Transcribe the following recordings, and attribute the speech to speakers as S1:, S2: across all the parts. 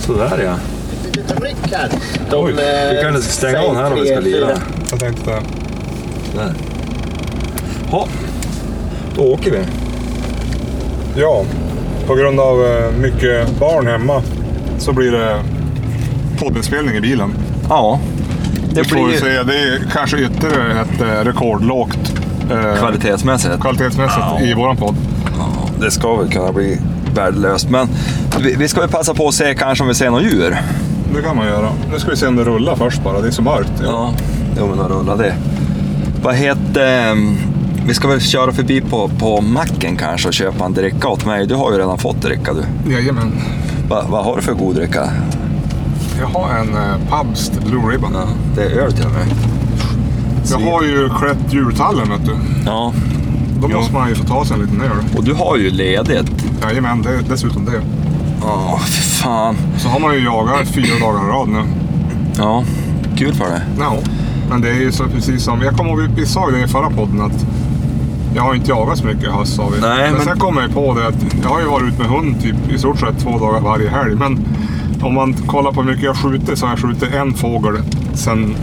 S1: Sådär ja.
S2: litet ryck här.
S1: Oj, vi kan stänga av här om vi ska lira.
S3: Jag tänkte det.
S1: Där. Ja, då åker vi.
S3: Ja, på grund av eh, mycket barn hemma så blir det poddinspelning i bilen.
S1: Ja,
S3: Det, får vi säga, det är kanske ytterligare ett eh, rekordlågt eh,
S1: kvalitetsmässigt.
S3: kvalitetsmässigt
S1: Ja.
S3: i våran podd.
S1: Det ska väl kunna bli värdelöst, men vi, vi ska väl passa på att se kanske om vi ser något djur.
S3: Det kan man göra. Nu ska vi se om det rullar först bara, det är så mörkt.
S1: Ja, jo men då rullar det. Vad heter... ehm, Vi ska väl köra förbi på, på macken kanske och köpa en dricka åt mig. Du har ju redan fått dricka du.
S3: Jajamän.
S1: Va, vad har du för god dricka?
S3: Jag har en eh, Pabst Blue Ribbon.
S1: Ja, det är öl till och med.
S3: Jag har ju klätt djurtallen vet du.
S1: Ja,
S3: Då
S1: Ja.
S3: måste man ju få ta sig en liten öl.
S1: och du har ju ledigt.
S3: Jajamän, det, dessutom det.
S1: Ja, fy fan.
S3: Så har man ju jagat fyra dagar i rad nu.
S1: Ja, kul för det.
S3: Ja, men det är ju så precis som... Jag kommer ihåg, vi- vi sa ju det i förra podden att jag har inte jagat så mycket i höst sa vi.
S1: Nej,
S3: men,
S1: men-
S3: sen kom jag ju på det att jag har ju varit ute med hund typ i stort sett två dagar varje helg. Men om man kollar på hur mycket jag skjuter så har jag skjutit en fågel sen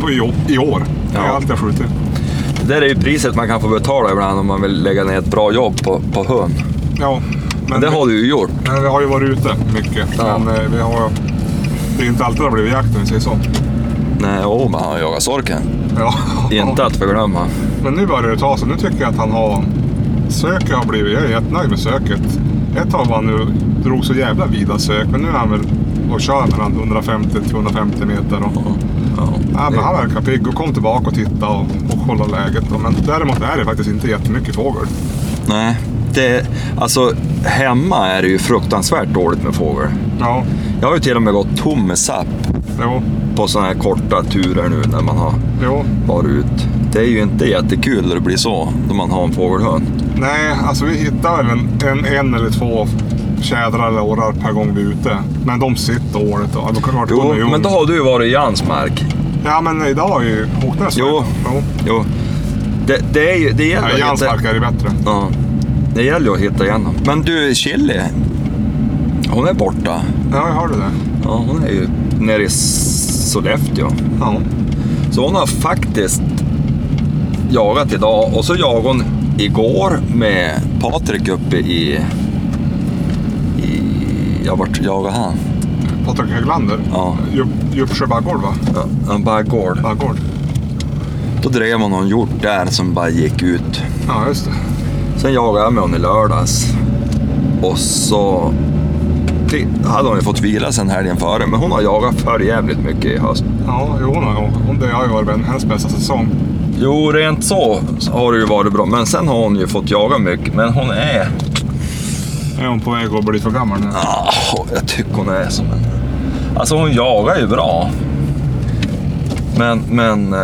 S3: på i, å- i år. Det är
S1: Ja.
S3: allt jag skjutit.
S1: Det där är ju priset man kan få betala ibland om man vill lägga ner ett bra jobb på, på hund.
S3: Ja,
S1: Men det har du ju gjort.
S3: men vi har ju varit ute mycket.
S1: Ja.
S3: Men eh, vi har, det är inte alltid det har blivit jakt om vi säger så.
S1: Nej, åh, men han har jagat sorken.
S3: Ja.
S1: Inte att förglömma.
S3: Men nu börjar det ta sig. Nu tycker jag att han har... Söket har blivit... Jag är jättenöjd med söket. Ett tag var han nu drog så jävla vida sök, men nu är han väl och kör mellan 150-250 meter. Och,
S1: Ja,
S3: ja, men han verkar pigg och kom tillbaka och tittade och, och kollade läget. Då. Men däremot är det faktiskt inte jättemycket fågel.
S1: Nej, det, alltså hemma är det ju fruktansvärt dåligt med fågel.
S3: Ja,
S1: Jag har ju till och med gått tom med sapp
S3: jo,
S1: på sådana här korta turer nu när man har
S3: jo.
S1: varit ut. Det är ju inte jättekul när det blir så, när man har en fågelhund.
S3: Nej, alltså vi hittar väl en, en, en eller två tjädrar eller orrar per gång vi är ute. Men de sitter året. Och, alltså, klart, de
S1: Jo,
S3: är ju
S1: men då
S3: ung.
S1: har du ju varit i Jansmark.
S3: Ja, men idag är ju Håknäs
S1: Jo.
S3: jo.
S1: Jo, det, det, är ju, det gäller
S3: Ja,
S1: ju att
S3: Jansmark
S1: hitta...
S3: är det bättre.
S1: Ja, det gäller ju att hitta igenom. Men du, Chili, hon är borta.
S3: Ja, jag hörde det.
S1: Ja, hon är ju nere i S- Sollefteå.
S3: Ja.
S1: Så hon har faktiskt jagat idag och så jagade hon igår med Patrik uppe i... i ja, vart jagade han?
S3: Patrik Höglander.
S1: Ja.
S3: Djup- Djupsjö baggård va?
S1: Ja, En baggård.
S3: Baggård.
S1: Då drev hon någon hjort där som bara gick ut.
S3: Ja, just det.
S1: Sen jagade jag med hon i lördags. Och så det- hade hon ju fått vila sen helgen före, men hon har jagat för jävligt mycket i höst.
S3: Ja, jo, hon har, hon, det har ju varit en- hennes bästa säsong.
S1: Jo, rent så har det ju varit bra, men sen har hon ju fått jaga mycket. Men hon är...
S3: Är hon på väg att bli för gammal nu?
S1: Ja, Ah, jag tycker hon är som en... Alltså hon jagar ju bra. Men, men... eh,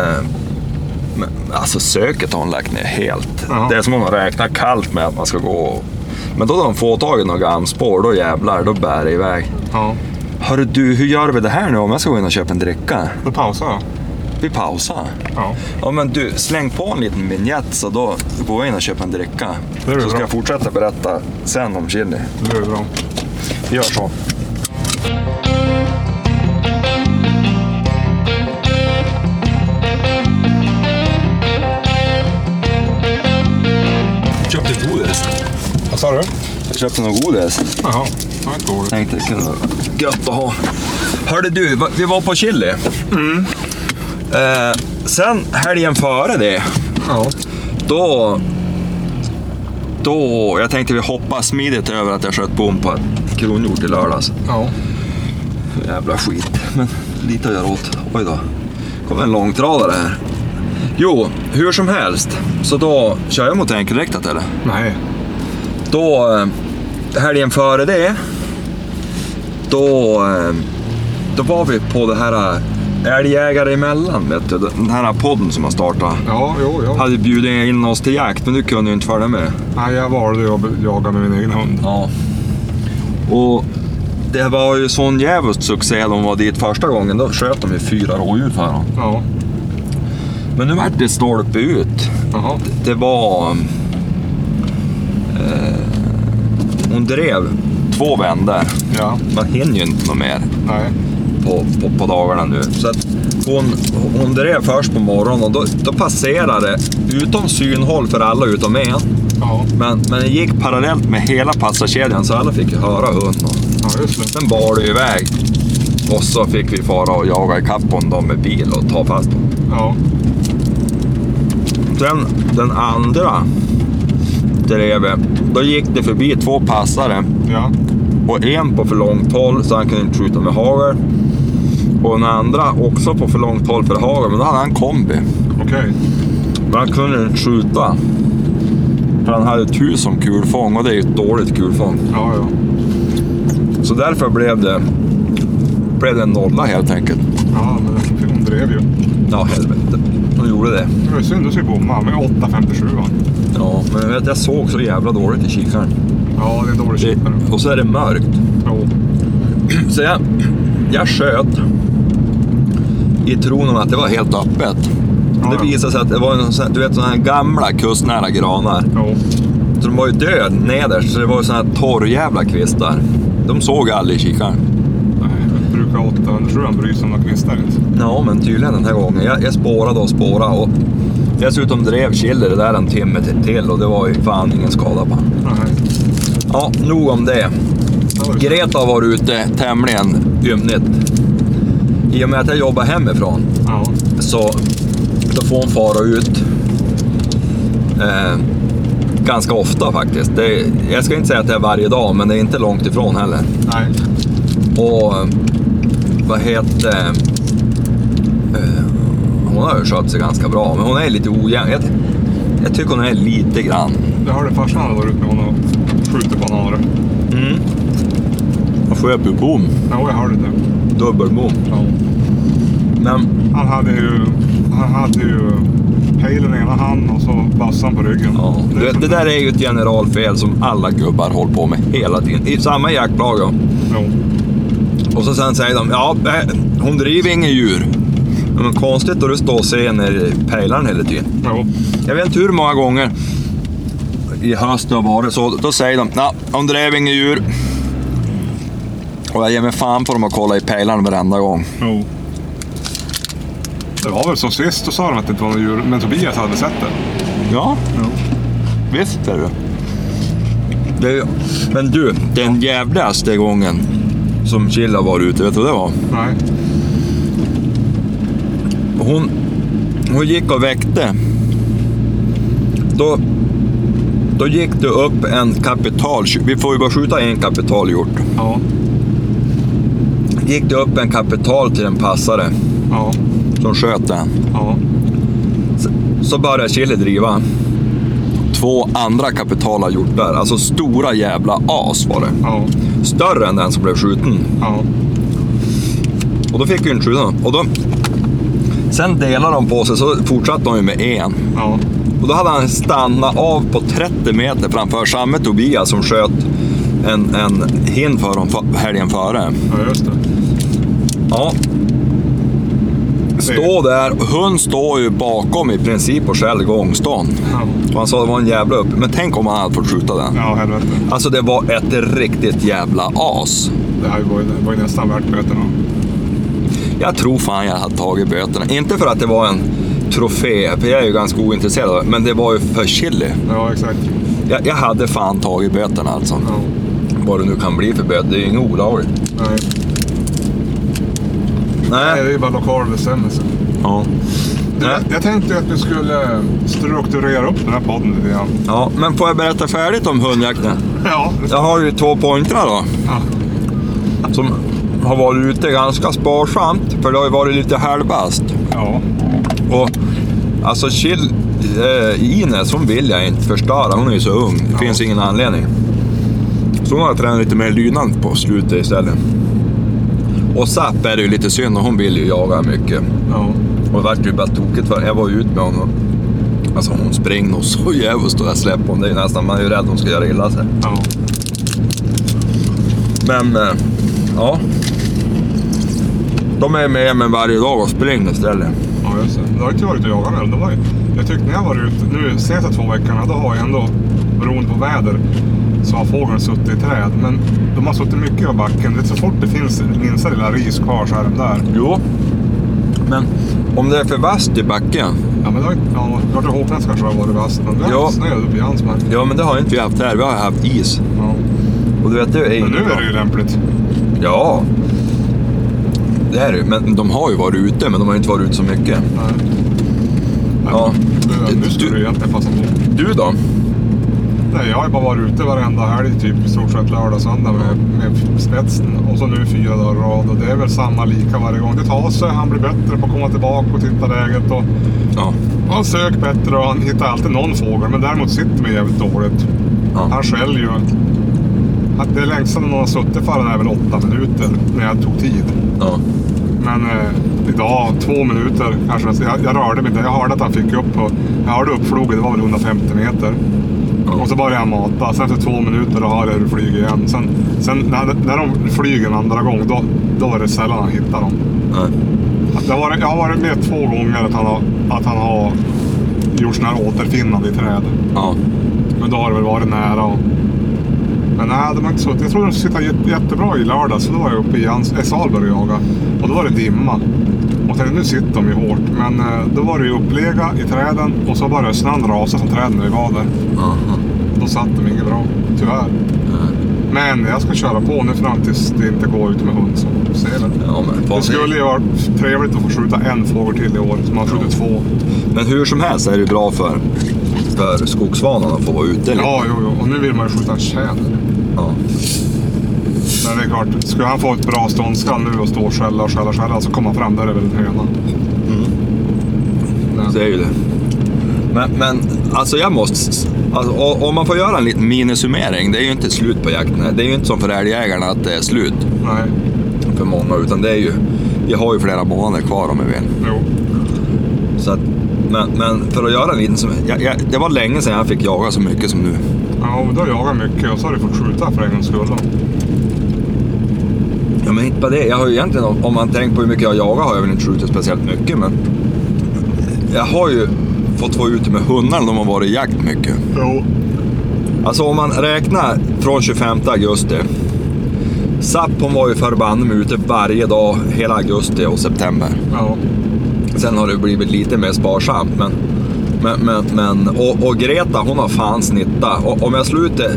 S1: men alltså söket har hon lagt ner helt.
S3: Ja.
S1: Det är som hon har räknat kallt med att man ska gå och... Men då när hon får tag i några gamspår, då jävlar, då bär det iväg.
S3: Ja.
S1: Hörru du, hur gör vi det här nu om jag ska gå in och köpa en dricka?
S3: Då pausar jag.
S1: Vi pausar.
S3: Ja.
S1: Ja men du, släng på en liten vignett så då går jag in och köper en dricka.
S3: Det blir
S1: Så ska
S3: bra.
S1: jag fortsätta berätta sen om chili.
S3: Det blir bra.
S1: Vi gör så. Köpte godis.
S3: Vad sa du?
S1: Jag köpte något godis.
S3: Jaha. Det var inte dåligt.
S1: Tänkte det kunde vara gött att ha. Mm. Hörde du, va- vi var på Chili. Eh, sen helgen före det,
S3: Ja.
S1: då... Då, jag tänkte vi hoppar smidigt över att jag sköt bom på ett kronhjort i lördags.
S3: Ja.
S1: Jävla skit. Men lite att göra åt. Oj då. Kommer en långtradare här. Jo, hur som helst. Så då kör jag mot enkelriktat eller?
S3: Nej.
S1: Då, eh, helgen före det, då, eh, då var vi på det här eh, Älgjägare emellan, vet du. Den här podden som har startat.
S3: Ja, jo, ja.
S1: Hade bjudit in oss till jakt, men du kunde ju inte följa med.
S3: Nej, jag valde ju att jaga med min egen hund.
S1: Ja. Och det var ju sån djävulskt succé de var dit första gången. Då sköt de ju fyra rådjur för dem.
S3: Ja.
S1: Men nu vart det stolpe ut.
S3: Jaha.
S1: Det var... Eh, hon drev två vändor.
S3: Ja,
S1: Man hinner ju inte något mer
S3: nej.
S1: på, på, på dagarna nu. Så att hon, hon drev först på morgonen och då, då passerade det utom synhåll för alla utom en.
S3: Ja,
S1: Men, men det gick parallellt med hela passagerkedjan så alla fick ju höra hunden. Och
S3: ja just det.
S1: Sen bar det iväg. Och så fick vi fara och jaga ikapp honom då med bil och ta fast honom.
S3: Ja,
S1: Sen den andra drevet, då gick det förbi två passare
S3: ja,
S1: och en på för långt håll så han kunde inte skjuta med hagel. Och den andra också på för långt håll för hagel, men då hade han kombi.
S3: okej.
S1: Men han kunde inte skjuta. För han hade ett hus som kulfång och det är ju ett dåligt kulfång.
S3: Ja, ja.
S1: Så därför blev det, blev det en nolla helt enkelt.
S3: Ja, men hon drev ju.
S1: Ja, helvete. De gjorde det.
S3: Det var ju synd att vi bommade med 8.57.
S1: Ja, men jag, vet, jag såg så jävla dåligt i kikaren.
S3: Ja, det är en dålig
S1: Det,
S3: kikare.
S1: och så är det mörkt.
S3: Jo.
S1: Så jag, jag sköt i tron om att det var helt öppet.
S3: Ja, ja.
S1: Det visade sig att det var en sån här, du vet, såna här gamla kustnära granar.
S3: Jo.
S1: Så de var ju död nederst, så det var ju såna här torrjävla kvistar. De såg aldrig i kikaren.
S3: Nej, jag brukar 8.57 bry sig om några liksom. kvistar inte.
S1: Ja, men tydligen den här gången. Jag, jag spårade och spårade och dessutom drev Schiller det där en timme till- till och det var ju fan ingen skada på han.
S3: Nej.
S1: Ja, nog om det.
S3: det var ju-
S1: Greta var ute tämligen ymnigt. I och med att jag jobbar hemifrån
S3: Ja.
S1: så då får hon fara ut eh, ganska ofta faktiskt. Det, jag ska inte säga att det är varje dag, men det är inte långt ifrån heller.
S3: Nej.
S1: Och eh, vad heter... eh, Hon har ju skött sig ganska bra, men hon är lite ojämn. Jag, jag tycker hon är lite grann.
S3: Jag hörde farsan hade varit ute med honom och skjutit på en hare.
S1: Mm. Hon sköp ju bom,
S3: Ja, jag hörde det.
S1: dubbelbom.
S3: Ja.
S1: Men
S3: Han hade ju... Han hade ju pejlen i ena handen och så bassan på ryggen.
S1: ja, det, det där är ju ett generalfel som alla gubbar håller på med hela tiden. I samma jaktlag. ja.
S3: Jo.
S1: Och så sen säger de, ja, eh, hon driver inga djur. Ja, Men konstigt att du står och ser när pejlaren hela tiden.
S3: Jo.
S1: Jag vet inte hur många gånger i höst det har varit så. Då säger de, ja, de drev inga djur. Och jag ger mig fan på dem att kolla i pejlaren varenda gång.
S3: Jo. Det var väl så sist, då sa de att det inte var något djur. Men Tobias hade sett det.
S1: Ja,
S3: Jo.
S1: visst är det. det är, men du, den jävligaste gången som Chilla var ute, vet du vad det var?
S3: Nej.
S1: Hon, hon gick och väckte. Då, då gick det upp en kapital... Vi får ju bara skjuta en kapitaljort.
S3: Ja.
S1: Gick det upp en kapital till en passare
S3: Ja.
S1: som sköt den.
S3: Ja.
S1: Så började Chile driva. Två andra kapitala hjortar, alltså stora jävla as var det.
S3: Ja.
S1: Större än den som blev skjuten.
S3: Ja.
S1: Och då fick vi inte skjuta dem. Och då... Sen delade de på sig, så fortsatte de ju med en.
S3: Ja.
S1: Och då hade han stannat av på 30 meter framför samme Tobias som sköt en, en hin för dem för- helgen före.
S3: Ja, just det.
S1: Ja. Stå där, hund står ju bakom i princip och skäller gångstånd.
S3: Ja.
S1: Och han sa det var en jävla upp. Men tänk om han hade fått skjuta den.
S3: Ja, helvete.
S1: Alltså det var ett riktigt jävla as.
S3: Det här var ju, det var ju nästan värt böterna.
S1: Jag tror fan jag hade tagit böterna. Inte för att det var en trofé, för jag är ju ganska ointresserad av det, men det var ju för chili.
S3: Ja, exakt.
S1: Jag, jag hade fan tagit böterna alltså.
S3: Ja.
S1: Vad det nu kan bli för böter, det är ju inget olagligt.
S3: Nej. Nej,
S1: Nej.
S3: det är ju bara lokal bestämmelse.
S1: Ja.
S3: Jag, jag tänkte ju att vi skulle strukturera upp den här podden lite grann.
S1: ja. Men får jag berätta färdigt om hundjakten?
S3: Ja. det-
S1: Jag har ju två pointrar då.
S3: ja.
S1: Som har varit ute ganska sparsamt, för det har ju varit lite halvast.
S3: Ja.
S1: Och alltså Chill, eh, Ines, hon vill jag inte förstöra. Hon är ju så ung. Det finns ingen anledning. Så hon har tränat lite mer lydnad på slutet istället. Och Zapp är det ju lite synd och hon vill ju jaga mycket.
S3: Ja.
S1: Och det vart ju bara tokigt för jag var ut med honom. Alltså hon springer nog så djävulskt och jag släpper hon. Det är ju nästan, man är ju rädd hon ska göra illa sig.
S3: Ja.
S1: Men, eh, ja. De är med mig varje dag och springer istället.
S3: Ja, just det. Du har ju inte varit och jagat nu. Det var ju, jag tyckte när jag var ute, nu senaste två veckorna, då har jag ändå, beroende på väder, så har fågeln suttit i träd. Men de har suttit mycket på backen. Det är så fort det finns minsta lilla ris kvar så är de där.
S1: Jo, men om det är för vasst i backen.
S3: Ja, men det har ju- ja, klart att Håkan kanske har varit vass. Men det har
S1: Ja.
S3: haft snö uppe i hans mark.
S1: Ja, men det har inte vi haft här. Vi har haft is.
S3: Ja.
S1: Och du vet, det är
S3: Men nu
S1: inget
S3: är
S1: bra.
S3: det ju lämpligt.
S1: Ja. Det är det ju. Men de har ju varit ute, men de har ju inte varit ute så mycket.
S3: Nej. Nej,
S1: Ja.
S3: men, Nu
S1: Du-
S3: skulle du egentligen passa på.
S1: Du då?
S3: Nej, jag har ju bara varit ute varenda helg, typ i stort sett lördag, söndag med, med spetsen. Och så nu fyra dagar i rad och det är väl samma lika varje gång. Det tar sig, han blir bättre på att komma tillbaka och titta läget. Och
S1: Ja.
S3: han söker bättre och han hittar alltid någon fågel, men däremot sitter vi jävligt dåligt.
S1: ja.
S3: Han skäller ju. Han- Det längsta någon har suttit för den är väl åtta minuter, när jag tog tid.
S1: ja.
S3: Men eh, idag, två minuter kanske. Jag, jag rörde mig inte. Jag hörde att han fick upp och jag hörde uppfloget. Det var väl 150 meter.
S1: Ja.
S3: Och så började jag mata. Sen efter två minuter då hörde jag hur det flyger igen. Sen, sen när, när de flyger en andra gång, då, då är det sällan han hittar dem.
S1: Nej.
S3: Att Jag har varit, jag har varit med två gånger att han har, att han har gjort sådana här återfinnande i träd.
S1: Ja.
S3: Men då har det väl varit nära. Och... Men nej, de har inte suttit. Jag tror de sitter jätte, jättebra i lördags. Så då var jag uppe i Jans, eh, Salberg och jagade. Och då var det dimma. Och tänkte nu sitter de ju hårt. Men eh, då var det ju upplega i träden och så började snön rasa från träden när vi var där.
S1: Aha.
S3: Då satt de inget bra, tyvärr. Men jag ska köra på nu fram tills det inte går ut med hund. Så vi ser väl.
S1: Ja, men,
S3: Det skulle ju vara trevligt att få skjuta en fågel till i år. Så man har skjutit två.
S1: men hur som helst är det ju bra för, för skogsvanan att få vara ute. lite.
S3: Ja, jo, jo. Och nu vill man ju skjuta en tjäder.
S1: Ja.
S3: Men det är klart, skulle han få ett bra ståndskall nu och stå och skälla och skälla och skälla så kommer han fram, där är det väl en höna. Mm. Men-
S1: Det är ju det. Men, men alltså jag måste... Alltså, o- om man får göra en liten minisummering, det är ju inte slut på jakten. Det är ju inte som för älgjägarna att det är slut
S3: Nej,
S1: för många, utan det är ju... Vi har ju flera månader kvar om vi vill.
S3: jo.
S1: Så att, men, men för att göra en liten summering. Jag, jag, det var länge sedan jag fick jaga så mycket som nu.
S3: Ja, och då har jag jagat mycket och så har du fått skjuta för en gångs skull. då.
S1: Ja, men inte bara det. Jag har ju egentligen, om om man tänker på hur mycket jag jagar, har jag väl inte skjutit speciellt mycket, men... Jag har ju fått vara ute med hundarna, de har varit i jakt mycket.
S3: Jo.
S1: Alltså om man räknar från 25 augusti. SAP hon var ju förbannad med ute varje dag hela augusti och september.
S3: Ja.
S1: Sen har det blivit lite mer sparsamt. Men, men, men, men, och, och Greta hon har fan snittat. Och, om jag slutar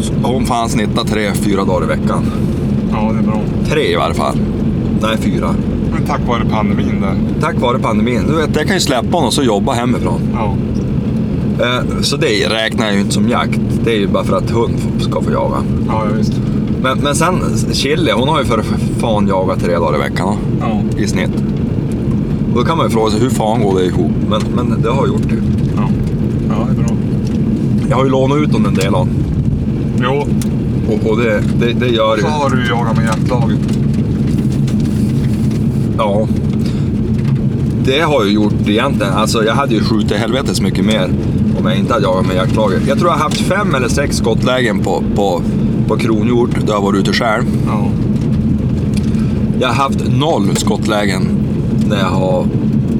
S1: så har hon fan snittat tre, fyra dagar i veckan.
S3: ja, det är bra.
S1: Tre i varje fall. Nej, fyra.
S3: Men tack vare pandemin där.
S1: Tack vare pandemin. Du vet, jag kan ju släppa honom och så jobba hemifrån.
S3: Ja.
S1: Eh, Så det räknar jag ju inte som jakt. Det är ju bara för att hund ska få jaga.
S3: Ja, ja, visst.
S1: Men, men sen Chili, hon har ju för fan jagat tre dagar i veckan
S3: Ja.
S1: då, i snitt. Och då kan man ju fråga sig hur fan går det ihop? Men, men det har gjort det.
S3: Ja, ja det är bra.
S1: Jag har ju lånat ut honom en del av
S3: Jo,
S1: och, och det, det, det gör ju.
S3: så har du jagat med jaktlaget.
S1: Ja. Det har ju gjort egentligen. Alltså jag hade ju skjutit helvetes mycket mer om jag inte hade jagat med jaktlaget. Jag tror jag har haft fem eller sex skottlägen på, på, på kronhjort då jag varit ute själv.
S3: Ja.
S1: Jag har haft noll skottlägen när jag har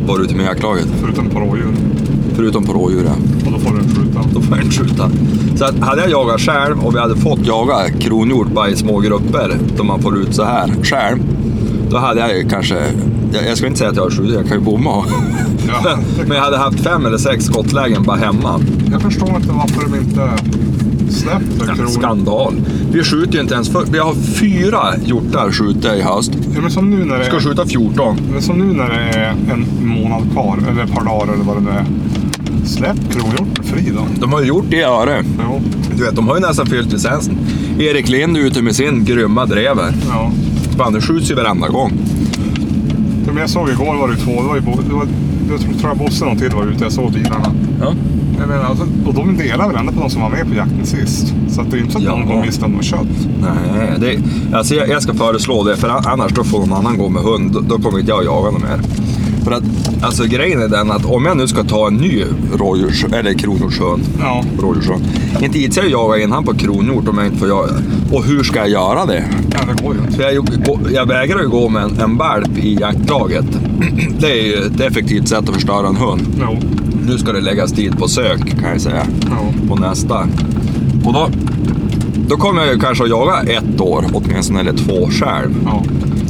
S1: varit ute med jaktlaget.
S3: Förutom på rådjur.
S1: Förutom på rådjur ja.
S3: Och då får du en skjuta.
S1: då får jag inte skjuta. Så att hade jag jagat själv och vi hade fått jaga kronhjort bara i små grupper, då man får ut så här själv, då hade jag ju kanske, jag, jag ska inte säga att jag har skjutit, jag kan ju bomma.
S3: Ja.
S1: Men jag hade haft fem eller sex skottlägen bara hemma.
S3: Jag förstår inte varför de inte släpper kronor.
S1: Skandal. Vi skjuter ju inte ens för, Vi har fyra hjortar skjutit i höst.
S3: Ja, men som nu när det
S1: Ska
S3: är...
S1: skjuta 14.
S3: Men som nu när det är en månad kvar, eller ett par dagar eller vad det nu är. Släpp kronhjorten fri då.
S1: De har ju gjort det i Öre.
S3: Jo,
S1: Du vet, de har ju nästan fyllt licensen. Erik Lind är ute med sin grymma drever.
S3: ja.
S1: Fan, det skjuts ju varenda gång.
S3: Ja, Men jag såg igår var det två, det var ju Bo- det var, jag tror tror jag Bosse någon till var ute, jag såg bilarna.
S1: Ja.
S3: Jag menar, alltså, och de delar väl ändå på de som var med på jakten sist. Så att det är ju inte så att
S1: Ja.
S3: någon går miste om något kött.
S1: Nej, det, alltså jag, jag ska föreslå det, för annars då får någon annan gå med hund. Då, då kommer inte jag jaga någon mer. För att, alltså grejen är den att om jag nu ska ta en ny rådjurs, eller kronhjortshund,
S3: Ja.
S1: rådjurshund. Inte hittar jag jaga in han på kronhjort om jag inte får jaga. Och hur ska jag göra det?
S3: Ja, det går ju inte.
S1: För jag, ju- gå- jag vägrar ju gå med en, en valp i jaktlaget. Det är ju ett effektivt sätt att förstöra en hund.
S3: Jo,
S1: Nu ska det läggas tid på sök kan jag säga.
S3: jo.
S1: På nästa. Och då, då kommer jag ju kanske att jaga ett år, åtminstone eller två själv.
S3: Ja.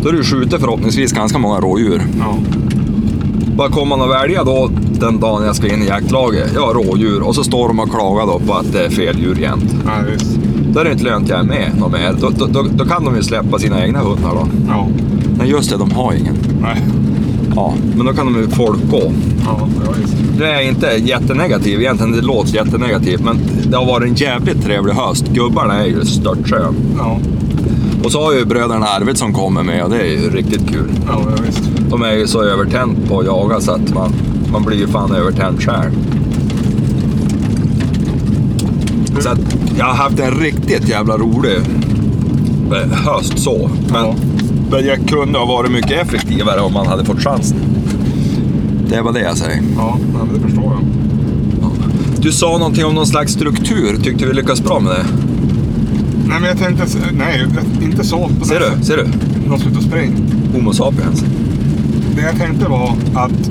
S1: Då är du skjutit förhoppningsvis ganska många rådjur.
S3: ja.
S1: Vad kommer man att välja då den dagen jag ska in i jaktlaget? Ja, rådjur. Och så står de och klagar då på att det är fel djur jämt.
S3: Nej, visst.
S1: Då är det inte lönt jag är med något mer. Då, då, då, då kan de ju släppa sina egna hundar då.
S3: Ja.
S1: Nej, just det, de har ingen.
S3: Nej.
S1: Ja, men då kan de ju folkgå.
S3: Ja, ja visst.
S1: Det är inte jättenegativ egentligen, det låter jättenegativt, men det har varit en jävligt trevlig höst. Gubbarna är ju störtsköna.
S3: Ja.
S1: Och så har ju bröderna Arvidsson kommit med och det är ju riktigt kul.
S3: Ja, ja visst.
S1: De är ju så övertänt på att jaga så att man, man blir ju fan övertänd själv. Så att jag har haft en riktigt jävla rolig eh, höst så. Men,
S3: Ja.
S1: men jag kunde ha varit mycket effektivare om man hade fått chansen. Det var det jag säger.
S3: Ja, nej, men det förstår jag.
S1: Du sa någonting om någon slags struktur. Tyckte vi lyckades bra med det?
S3: Nej, men jag tänkte... s- Nej, inte så. På det
S1: Ser du?
S3: sättet.
S1: Ser du?
S3: De ska ut och springa.
S1: Homo sapiens.
S3: Det jag tänkte var att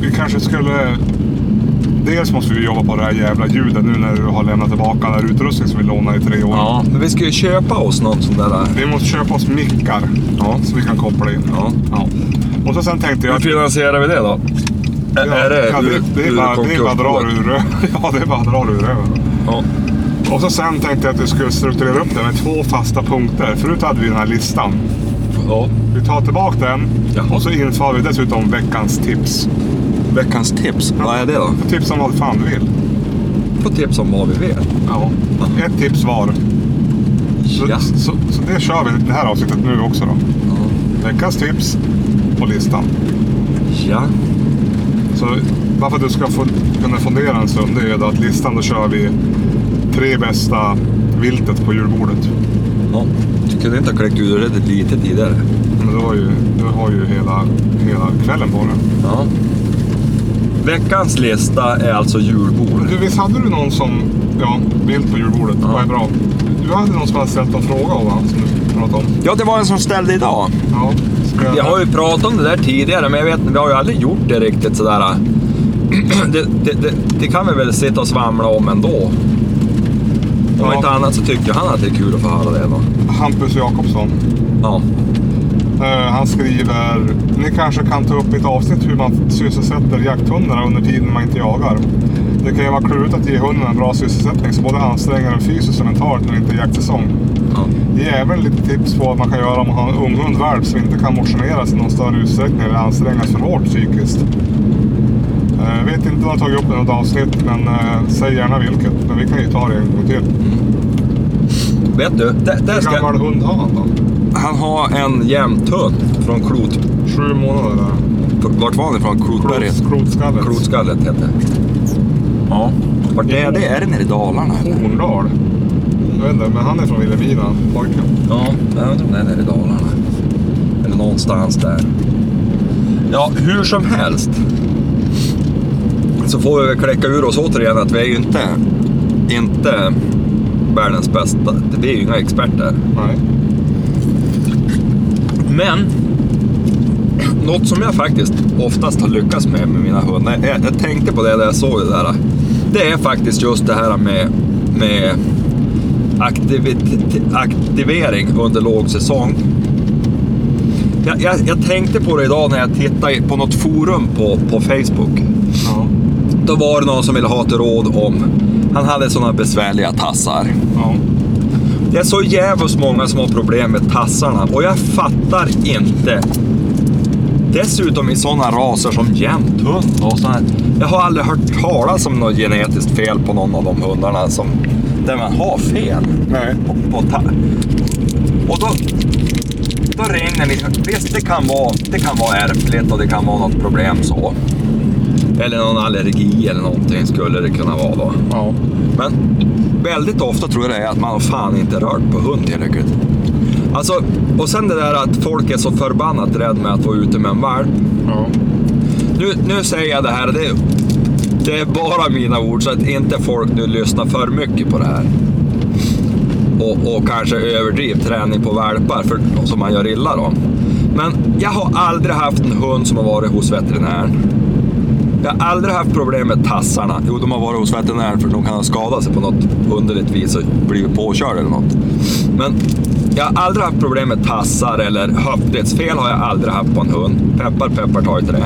S3: vi kanske skulle... Dels måste vi jobba på det här jävla ljudet nu när du har lämnat tillbaka den här utrustningen som vi lånade i tre år.
S1: Men vi ska ju köpa oss någon sån där... eh.
S3: Vi måste köpa oss mickar
S1: Ja.
S3: så vi kan koppla in.
S1: Ja.
S3: Ja. Och så sen tänkte jag...
S1: Hur
S3: att-
S1: finansierar vi det då? Ä-
S3: Ja,
S1: är det
S3: ja, det,
S1: ur-
S3: det är
S1: ur
S3: bara, det är bara att dra
S1: konkursboet?
S3: ur röven. Ja, det är bara att dra ur röven.
S1: Ja.
S3: Och så sen tänkte jag att vi skulle strukturera upp det med två fasta punkter. Förut hade vi den här listan.
S1: ja.
S3: Vi tar tillbaka den
S1: Jaha.
S3: och så inför vi dessutom veckans tips.
S1: Veckans tips. Vad är det då?
S3: Tips om vad fan du vill.
S1: Få tips om vad vi vet.
S3: Ja. Ett tips var. Så,
S1: Ja.
S3: så, så det kör vi i det här avsnittet nu också då. Veckans tips på listan.
S1: Ja.
S3: Så bara för att du ska få, kunna fundera en stund, det är då att listan då kör vi tre bästa viltet på julbordet.
S1: ja. Du kunde inte ha kläckt ur det lite tidigare.
S3: Men du har ju, du har ju hela, hela kvällen på den.
S1: Ja. Veckans lista är alltså julbord.
S3: Du, visst hade du någon som, ja, vilt på julbordet,
S1: Ja.
S3: vad är bra? Du hade någon som hade ställt en fråga va, som du pratade om?
S1: Ja, det var en som ställde idag.
S3: Ja. Ska jag...
S1: Vi har ju pratat om det där tidigare, men jag vet, vi har ju aldrig gjort det riktigt sådär. Det, det, det, det kan vi väl sitta och svamla om ändå. Om
S3: Ja.
S1: inte annat så tycker han att det är kul att få höra det. Då.
S3: Hampus Jakobsson.
S1: Ja.
S3: Eh, Han skriver, ni kanske kan ta upp i ett avsnitt hur man sysselsätter jakthundarna under tiden man inte jagar. Det kan ju vara klurigt att ge hunden en bra sysselsättning som både anstränger den fysiskt och mentalt när det inte är jaktsäsong.
S1: ja.
S3: Ge även lite tips på vad man kan göra om man har en ung hundvalp som inte kan motioneras i någon större utsträckning eller ansträngas för hårt psykiskt. Eh, Jag vet inte om jag har tagit upp det i något avsnitt, men eh, säg gärna vilket. Men vi kan ju ta det en gång till.
S1: Vet du, där, där
S3: Hur
S1: ska...
S3: gammal hund har han då?
S1: Han har en jämthund från Klot...
S3: Sju månader? eller?
S1: Vart var han ifrån? Klotberget?
S3: Klots- Klotskallet?
S1: Klotskallet hette det. Ja. Vart är det? Är det nere i Dalarna? eller?
S3: Horndal. Jag vet inte, men han är från Vilhelmina. Pojken.
S1: Ja, jag undrar om det är nere i Dalarna. Eller någonstans där. Ja, hur som helst. Så får vi väl kläcka ur oss återigen att vi är ju inte, inte världens bästa. Vi är ju inga experter.
S3: Nej.
S1: Men något som jag faktiskt oftast har lyckats med med mina hundar, jag, jag tänkte på det när jag såg det där. Det är faktiskt just det här med, med aktivit- aktivering under lågsäsong. Jag, jag, jag tänkte på det idag när jag tittade på något forum på, på Facebook.
S3: Ja.
S1: Då var det någon som ville ha ett råd om, han hade sådana besvärliga tassar.
S3: Ja.
S1: Det är så jävligt många som har problem med tassarna och jag fattar inte. Dessutom i sådana raser som jämthund och sådana. Jag har aldrig hört talas om något genetiskt fel på någon av de hundarna som, där man har fel.
S3: Nej.
S1: På, på ta- och då, då ringer ni. Visst, det kan, vara, det kan vara ärftligt och det kan vara något problem så. Eller någon allergi eller någonting skulle det kunna vara då.
S3: Ja.
S1: Men väldigt ofta tror jag det är att man har fan inte rört på hund tillräckligt. Alltså, och sen det där att folk är så förbannat rädd med att vara ute med en valp.
S3: Ja.
S1: Nu, nu säger jag det här, det, det är bara mina ord så att inte folk nu lyssnar för mycket på det här. Och, och kanske överdriv träning på valpar för, som man gör illa då. Men jag har aldrig haft en hund som har varit hos veterinären. Jag har aldrig haft problem med tassarna. Jo, de har varit hos veterinären för de kan ha skadat sig på något underligt vis och blivit påkörd eller något. Men jag har aldrig haft problem med tassar eller höftledsfel har jag aldrig haft på en hund. Peppar, peppar, ta i trä.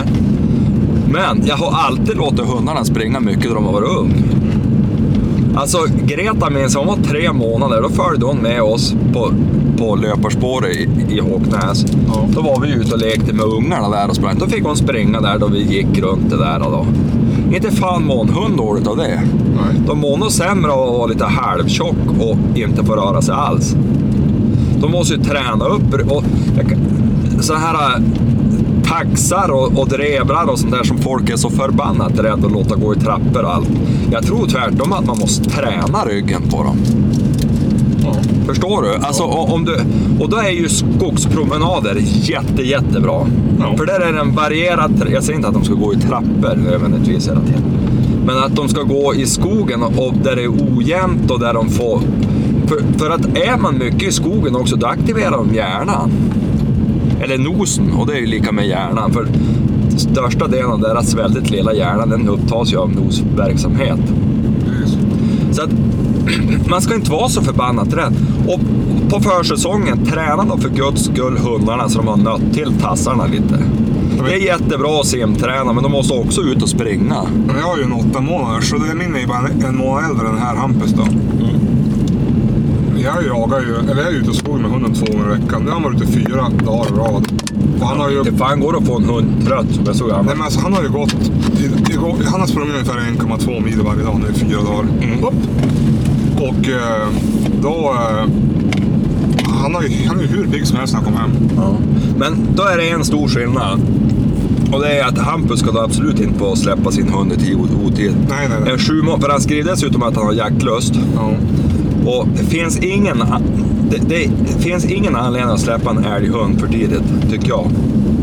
S1: Men jag har alltid låtit hundarna springa mycket när de har varit ung. Alltså, Greta minns, hon var tre månader, då följde hon med oss på, på löparspåret i, i Håknäs.
S3: Ja.
S1: Då var vi ute och lekte med ungarna där och sprang. Då fick hon springa där då vi gick runt det där. Då. Inte fan mår en hund dåligt av det.
S3: Nej.
S1: De mår nog sämre av att vara lite halvtjock och inte få röra sig alls. De måste ju träna upp. Och jag kan- sådana här äh, taxar och, och drevrar och sånt där som folk är så förbannat rädda att låta gå i trappor och allt. Jag tror tvärtom att man måste träna ryggen på dem.
S3: Ja.
S1: Förstår du? Alltså, o- om du? Och då är ju skogspromenader jätte, jättebra.
S3: Ja.
S1: För där är det en varierad... tra- Jag säger inte att de ska gå i trappor nödvändigtvis hela tiden. Men att de ska gå i skogen och och där det är ojämnt och där de får... För, för att är man mycket i skogen också, då aktiverar de hjärnan. Eller nosen, och det är ju lika med hjärnan. För största delen av deras väldigt lilla hjärna, den upptas ju av nosverksamhet.
S3: Precis.
S1: Så att man ska inte vara så förbannat rädd. Och på försäsongen, träna då för guds skull hundarna så de har nött till tassarna lite. Det är jättebra att simträna, men de måste också ut och springa.
S3: Men jag har ju en åtta månader, så det är min är ju bara en, en månad äldre än här Hampus då. Jag jagar ju, eller jag är ute och skogen med hunden två gånger i veckan. Nu har han varit ute fyra dagar i rad. Och han har ju...
S1: Det fan går att få en hund trött som är så
S3: Nej
S1: gammal.
S3: men alltså han har ju gått... i- igår- Han har sprungit ungefär 1,2 mil varje dag nu i fyra dagar.
S1: Mm.
S3: Upp. Och eh, då... eh, Han, har ju, han är ju hur pigg som helst när han kommer hem.
S1: Ja. Men då är det en stor skillnad. Och det är att Hampus ska då absolut inte få släppa sin hund i tid och otid.
S3: Nej, nej, nej.
S1: En sju må- för han skriver dessutom att han har jaktlust.
S3: Ja.
S1: Och det finns ingen, a- det, det, det finns ingen anledning att släppa en älghund för tidigt, tycker jag.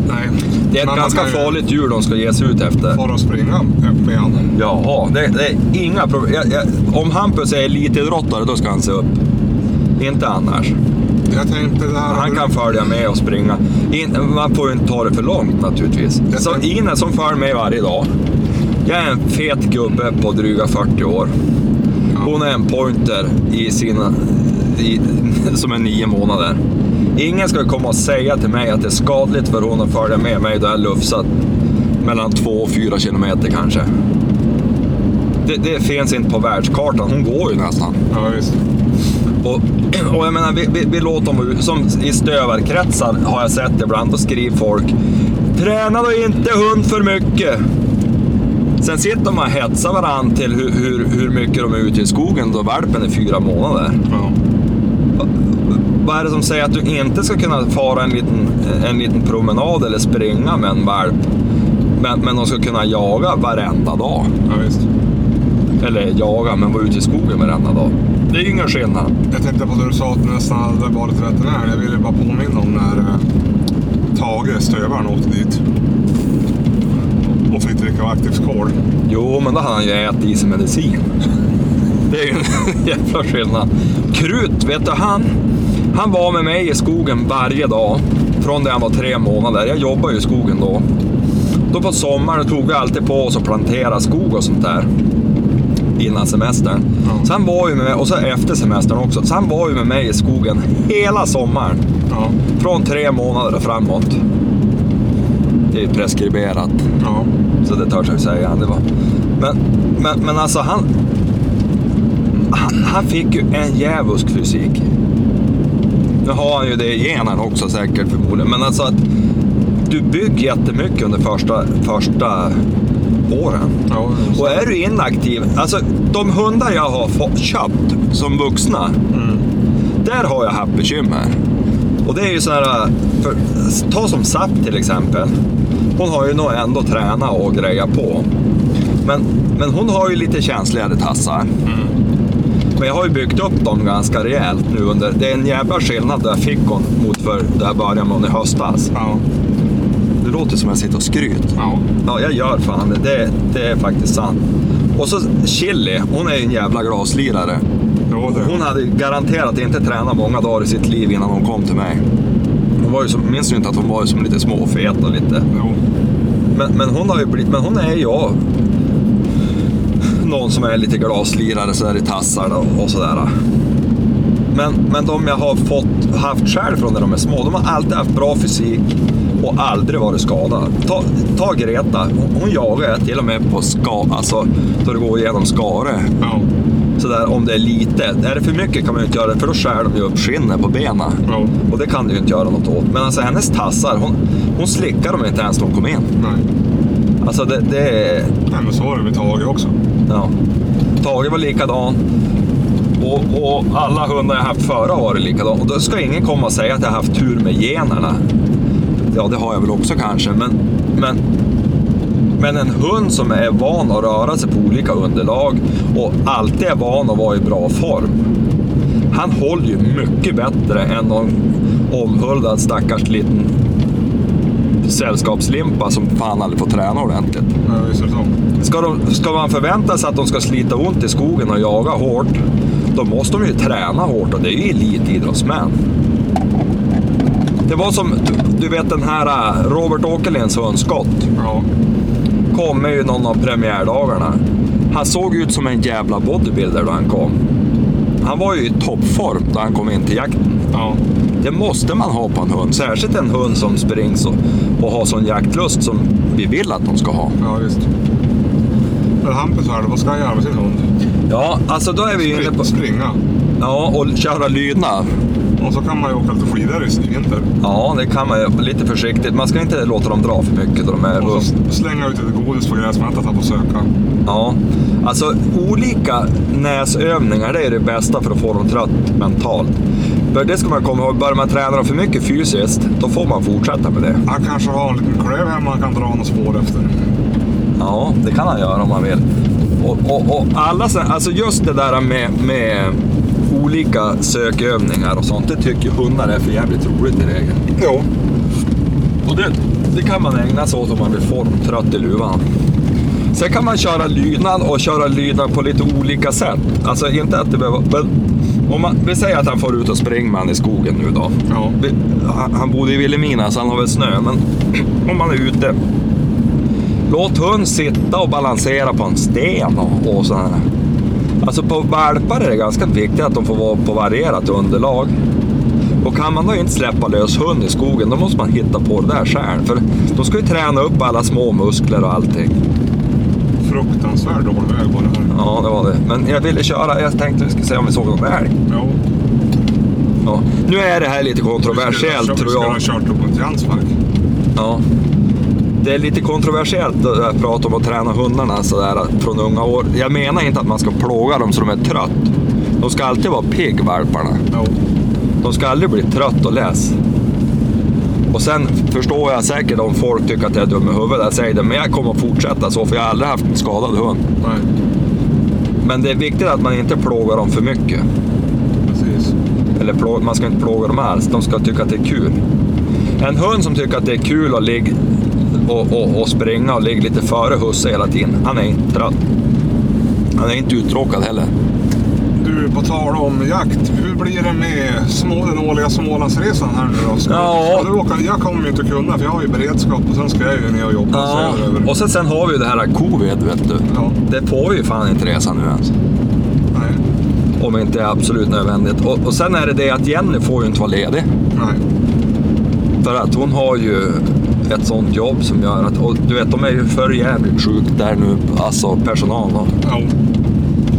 S3: Nej.
S1: Det är ett
S3: Men
S1: ganska
S3: man kan ju
S1: farligt djur de ska ge sig ut efter.
S3: Fara och springa med han.
S1: Ja, det, det är inga problem. Jag, jag, om Hampus är elitidrottare, då ska han se upp. Inte annars.
S3: Jag tänkte det här...
S1: Han kan följa med och springa. In, man får ju inte ta det för långt naturligtvis.
S3: Jag
S1: Så
S3: tänkte-
S1: Ines som följer mig varje dag. Jag är en fet gubbe på dryga 40 år. Hon är en pointer i sina, i, som är nio månader. Ingen ska komma och säga till mig att det är skadligt för hon att följa med mig då jag har lufsat mellan 2 och 4 kilometer kanske. Det, det finns inte på världskartan. Hon går ju nästan.
S3: Ja, visst.
S1: Och, och jag menar, vi, vi, vi låter dem ut. Som i stövarkretsar har jag sett ibland, då skriver folk Träna då inte hund för mycket. Sen sitter de och hetsar varandra till hur, hur, hur mycket de är ute i skogen då valpen är fyra månader.
S3: Ja.
S1: Vad är det som säger att du inte ska kunna fara en liten, en liten promenad eller springa med en valp? Men, men de ska kunna jaga varenda dag.
S3: ja, visst.
S1: Eller jaga, men vara ute i skogen varenda dag. Det är ju ingen skillnad.
S3: Jag tänkte på det du sa att du nästan hade varit veterinär. Jag ville bara påminna om när eh, Tage, stövaren, åkte dit. Och fick dricka aktiv skål.
S1: Jo, men då hade han ju ätit i sig medicin. Det är ju en jävla skillnad. Krut, vet du, han, han var med mig i skogen varje dag från det han var tre månader. Jag jobbade ju i skogen då. Då på sommaren tog vi alltid på oss att plantera skog och sånt där innan semestern.
S3: Ja.
S1: Så han var ju med mig, och så efter semestern också. Så han var ju med mig i skogen hela sommaren.
S3: Ja.
S1: Från tre månader och framåt. Det är ju preskriberat.
S3: Ja.
S1: Så det törs jag säga. Det var. Men, men, men alltså han, han... Han fick ju en djävulsk fysik. Nu har han ju det i genen också säkert förmodligen. Men alltså att du bygger jättemycket under första, första åren.
S3: ja.
S1: Och är du inaktiv, alltså de hundar jag har fått, köpt som vuxna,
S3: Mm.
S1: där har jag haft bekymmer. Och det är ju sådana här, för, ta som Zapp till exempel. Hon har ju nog ändå tränat och grejat på. Men, men hon har ju lite känsligare tassar. Men jag har ju byggt upp dem ganska rejält nu under, det är en jävla skillnad där jag fick hon mot för där jag började med hon i höstas.
S3: Ja.
S1: Det låter som att jag sitter och skryter.
S3: Ja.
S1: Ja, jag gör fan det. det. Det är faktiskt sant. Och så Chili, hon är ju en jävla glaslirare.
S3: Jo, det.
S1: Hon hade garanterat inte tränat många dagar i sitt liv innan hon kom till mig. Hon var ju som, minns du inte att hon var ju som lite småfet och lite...
S3: Jo.
S1: Men, men, hon har ju blivit, men hon är ju av någon som är lite glaslirare sådär i tassarna och, och sådär. Men, men de jag har fått, haft själv från när de är små, de har alltid haft bra fysik och aldrig varit skadade. Ta, ta Greta, hon, hon jagar jag till och med på ska, alltså, då det går igenom skare.
S3: Ja.
S1: Sådär, om det är lite. Är det för mycket kan man ju inte göra det, för då skär de ju upp skinnet på benen.
S3: Ja.
S1: Och det kan du ju inte göra något åt. Men alltså hennes tassar, hon, hon slickade dem inte ens när hon kom in.
S3: Nej.
S1: Alltså det, det är...
S3: Nej, men så var det med Tage också.
S1: Ja. Tage var likadan. Och, och alla hundar jag haft före har varit likadan. Och då ska ingen komma och säga att jag har haft tur med generna. Ja, det har jag väl också kanske, men, men, men en hund som är van att röra sig på olika underlag och alltid är van att vara i bra form. Han håller ju mycket bättre än någon omhuldad stackars liten sällskapslimpa som fan aldrig får träna ordentligt.
S3: Ja, visst är det så.
S1: Ska, de, ska man förvänta sig att de ska slita ont i skogen och jaga hårt, då måste de ju träna hårt och det är ju elitidrottsmän. Det var som, du- du vet den här äh, Robert Åkerlens hund Scott,
S3: Ja.
S1: kommer ju någon av premiärdagarna. Han såg ut som en jävla bodybuilder då han kom. Han var ju i toppform då han kom in till jakten.
S3: Ja.
S1: Det måste man ha på en hund, särskilt en hund som springs och, och har sån jaktlust som vi vill att de ska ha.
S3: Ja, visst. Men Hampus här, vad ska han göra med sin hund?
S1: Ja, alltså då är vi ju inne på...
S3: Spring, springa.
S1: Ja, och köra lydnad.
S3: Och så kan man ju åka lite skidor i vinter.
S1: Ja, det kan man ju. Lite försiktigt. Man ska inte låta dem dra för mycket. då De är
S3: Och
S1: runt.
S3: så slänga ut lite godis på gräsmattan så han får söka.
S1: Ja. Alltså, olika näsövningar, det är det bästa för att få dem trött mentalt. För det ska man komma ihåg, börjar man träna dem för mycket fysiskt, då får man fortsätta med det.
S3: Han kanske har en liten klöv hemma han kan dra något spår efter.
S1: Ja, det kan han göra om han vill. Och, och, och alla, så- alltså just det där med, med olika sökövningar och sånt, det tycker ju hundar är för jävligt roligt i regel.
S3: Jo.
S1: Och det, det kan man ägna sig åt om man blir formtrött i luvan. Sen kan man köra lydnad och köra lydnad på lite olika sätt. Alltså inte att det behöver... Men om man, vi säger att han får ut och springer med han i skogen nu då.
S3: Ja.
S1: Vi, han, han bodde i Vilhelmina så han har väl snö, men om man är ute. Låt hund sitta och balansera på en sten och, och sådär. Alltså på valpar är det ganska viktigt att de får vara på varierat underlag. Och kan man då inte släppa lös hund i skogen, då måste man hitta på det där själv. För de ska ju träna upp alla små muskler och allting.
S3: Fruktansvärd dålig väg var det här.
S1: Ja, det var det. Men jag ville köra, jag tänkte vi skulle se om vi såg någon älg.
S3: Jo.
S1: Ja. Nu är det här lite kontroversiellt tror jag.
S3: Vi skulle ha kört upp till hans mark.
S1: Ja. Det är lite kontroversiellt att prata om att träna hundarna sådär från unga år. Jag menar inte att man ska plåga dem så de är trött. De ska alltid vara pigg, valparna.
S3: Jo.
S1: De ska aldrig bli trött och less. Och sen förstår jag säkert om folk tycker att jag är dum i huvudet, jag säger det, men jag kommer att fortsätta så för jag har aldrig haft en skadad hund.
S3: Nej.
S1: Men det är viktigt att man inte plågar dem för mycket.
S3: Precis.
S1: Eller plå- man ska inte plåga dem alls, de ska tycka att det är kul. En hund som tycker att det är kul att ligga och, och, och springa och ligga lite före husse hela tiden, han är inte trött. Han är inte uttråkad heller.
S3: Du, på tal om jakt. Hur blir det med små, den årliga Smålandsresan här nu då? Ska,
S1: Ja.
S3: ska du åka? Jag kommer ju inte kunna för jag har ju beredskap och sen ska jag ju ner och jobba söderöver.
S1: Och sen, sen har vi ju det här covid, vet du.
S3: Ja.
S1: Det får vi ju fan inte resa nu ens.
S3: Nej.
S1: Om det inte är absolut nödvändigt. Och, och sen är det det att Jenny får ju inte vara ledig.
S3: Nej.
S1: För att hon har ju ett sånt jobb som gör att, och du vet de är ju för jävligt sjuk där nu, alltså personal. Och,
S3: Jo.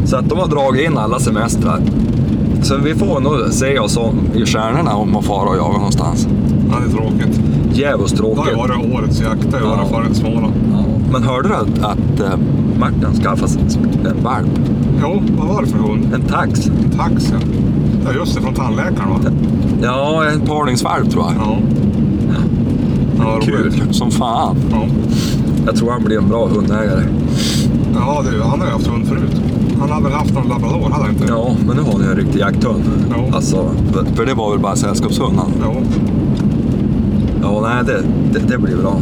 S1: Så att de har dragit in alla semestrar. Så vi får nog se oss om i stjärnorna om att fara och jaga någonstans.
S3: Ja, det är tråkigt.
S1: Djävulskt
S3: Det har ju
S1: tråkigt.
S3: varit årets jakt. Det har ju
S1: Ja.
S3: varit förut Småland.
S1: Ja. Men hörde du att, att eh, Martin skaffade sig en valp?
S3: Jo, vad var det för hund?
S1: En tax?
S3: Tax, ja. Ja, just det. Från tandläkaren, va?
S1: Ja, en parningsvalp tror jag.
S3: Ja. ja roligt.
S1: Kul som fan.
S3: Ja.
S1: Jag tror han blir en bra hundägare.
S3: ja, du. Han har ju haft hund förut. Han hade väl haft någon labrador, hade han inte?
S1: Ja, men nu har han ju en riktig jakthund.
S3: Ja.
S1: Alltså, för- för det var väl bara sällskapshunden?
S3: Jo.
S1: Ja, nej, det, det, det blir bra.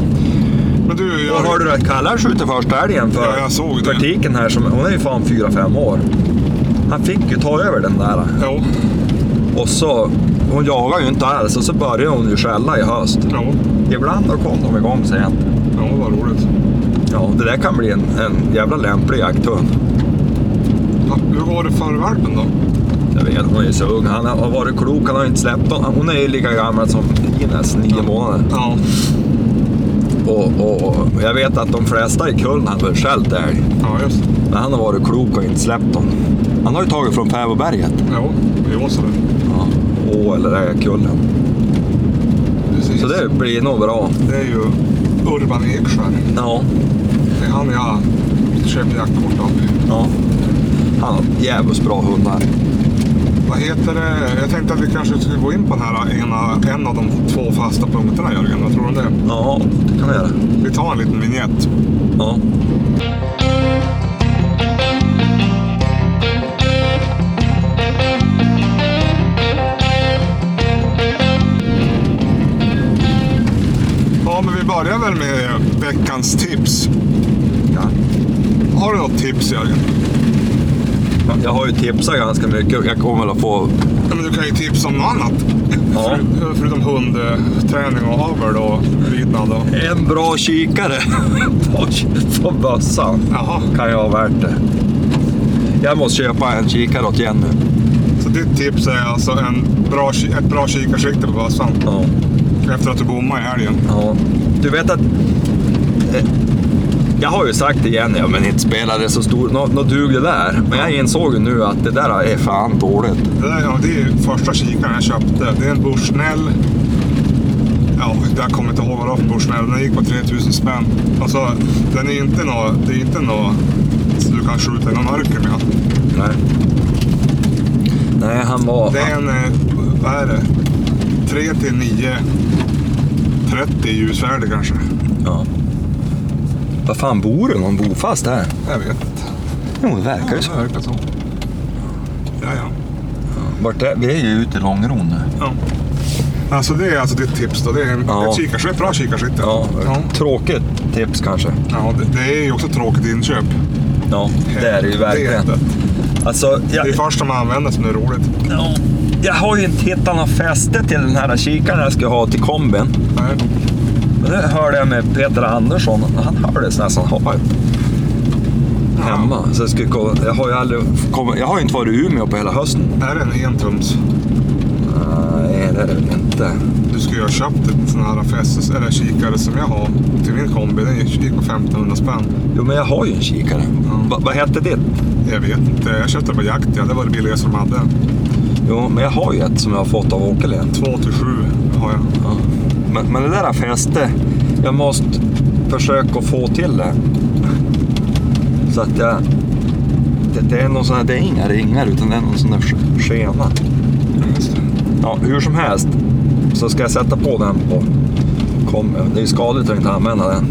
S3: Men du, jag...
S1: Och hörde du att Kallan skjuter första älgen för,
S3: Ja, jag såg det.
S1: för tiken här. Som, hon är ju fan 4-5 år. Han fick ju ta över den där.
S3: Jo.
S1: Och så, hon jagar ju inte alls och så börjar hon ju skälla i höst.
S3: Ja,
S1: Ibland då kom de igång sent.
S3: ja vad roligt.
S1: Ja, det där kan bli en, en jävla lämplig jakthund.
S3: Ja, hur var det för valpen då?
S1: Jag vet, hon är ju så ung. Han har varit klok, han har inte släppt honom. Hon är ju lika gammal som Ines, nio månader.
S3: Ja,
S1: Och, och, och jag vet att de flesta i kullen hade skällt älg.
S3: ja just det.
S1: Men han har varit klok och inte släppt dem. Han har ju tagit från Fäbodberget.
S3: Ja, i Åsele.
S1: Ja. Å eller Äkullen.
S3: Precis.
S1: Så det blir nog bra.
S3: Det är ju Urban Ekskär.
S1: Ja.
S3: Det är han jag köpte jaktkort av.
S1: ja. Han har jävligt bra hundar.
S3: Vad heter det? Jag tänkte att vi kanske skulle gå in på den här ena, en av de två fasta punkterna Jörgen. Vad tror du om det?
S1: Ja, det kan vi göra.
S3: Vi tar en liten vignett.
S1: Ja.
S3: Ja, men vi börjar väl med veckans tips.
S1: ja.
S3: Har du något tips Jörgen?
S1: Jag har ju tipsat ganska mycket. Jag kommer väl att få...
S3: Ja, men du kan ju tipsa om något annat.
S1: Ja.
S3: För, förutom hundträning och avel och lydnad. Och...
S1: En bra kikare på bössan.
S3: Jaha,
S1: Kan ju vara värt det. Jag måste köpa en kikare åt Jenny.
S3: så ditt tips är alltså en bra, ki- ett bra kikarsikte på bössan
S1: Ja.
S3: efter att du bommade i helgen.
S1: Ja, du vet att... eh, Jag har ju sagt det igen, ja, men inte spelar det så stor... Nå, nå dug det där. Men jag insåg ju nu att det där är fan dåligt.
S3: Det, där, ja, det är första kikaren jag köpte. Det är en Bushnell. Ja, jag kommer inte ihåg vad det var för Bushnell. Den gick på 3000 spänn. Alltså, den är inte nå, det är inte nå, så du kan skjuta i någon mörker med.
S1: Nej. Nej, han var...
S3: Det är en, eh, vad är det? 3 till 9. 30 ljusvärde kanske.
S1: Ja. Vad fan bor du? Någon bofast här?
S3: Jag vet inte.
S1: Jo, det verkar ju
S3: Ja,
S1: så.
S3: det verkar så. Ja, ja.
S1: Vart är... Vi är ju ute i Långron nu.
S3: ja. Alltså det är alltså ditt tips då. Det är en,
S1: Ja.
S3: ett kikarskytte, bra kikarskytte.
S1: Ja,
S3: ja.
S1: tråkigt tips kanske.
S3: ja det, det är ju också tråkigt inköp.
S1: Ja, det är det ju verkligen.
S3: Det är det.
S1: Alltså, jag,
S3: Det är först de använder som är roligt.
S1: ja, jag har ju inte hittat något fäste till den här kikaren jag ska ha till kombin.
S3: Nej.
S1: Men Det hörde jag med Peter Andersson. Han hördes nästan hoppa upp hemma. Så jag, skulle kolla. jag har ju aldrig kommit- jag har ju inte varit i Umeå på hela hösten.
S3: Är det en entums?
S1: Nej, det är det väl inte.
S3: Du skulle ju ha köpt ett sån här fästes eller kikare som jag har till min kombi. Den gick gick på 1500 spänn.
S1: Jo, men jag har ju en kikare.
S3: Mm.
S1: Va, vad hette ditt?
S3: Jag vet inte. Jag köpte den på jakt. Ja. Det var det billigaste de hade.
S1: Jo, men jag har ju ett som jag har fått av Åkerlind.
S3: 2 till 7 har jag.
S1: Ja. Men, men det där fäste, jag måste försöka få till det. Så att jag... Det, det är någon sån här, det är inga ringar utan det är någon sån där sk- skena.
S3: Just det.
S1: Ja, hur som helst så ska jag sätta på den på kom, Det är ju skadligt att inte använda den.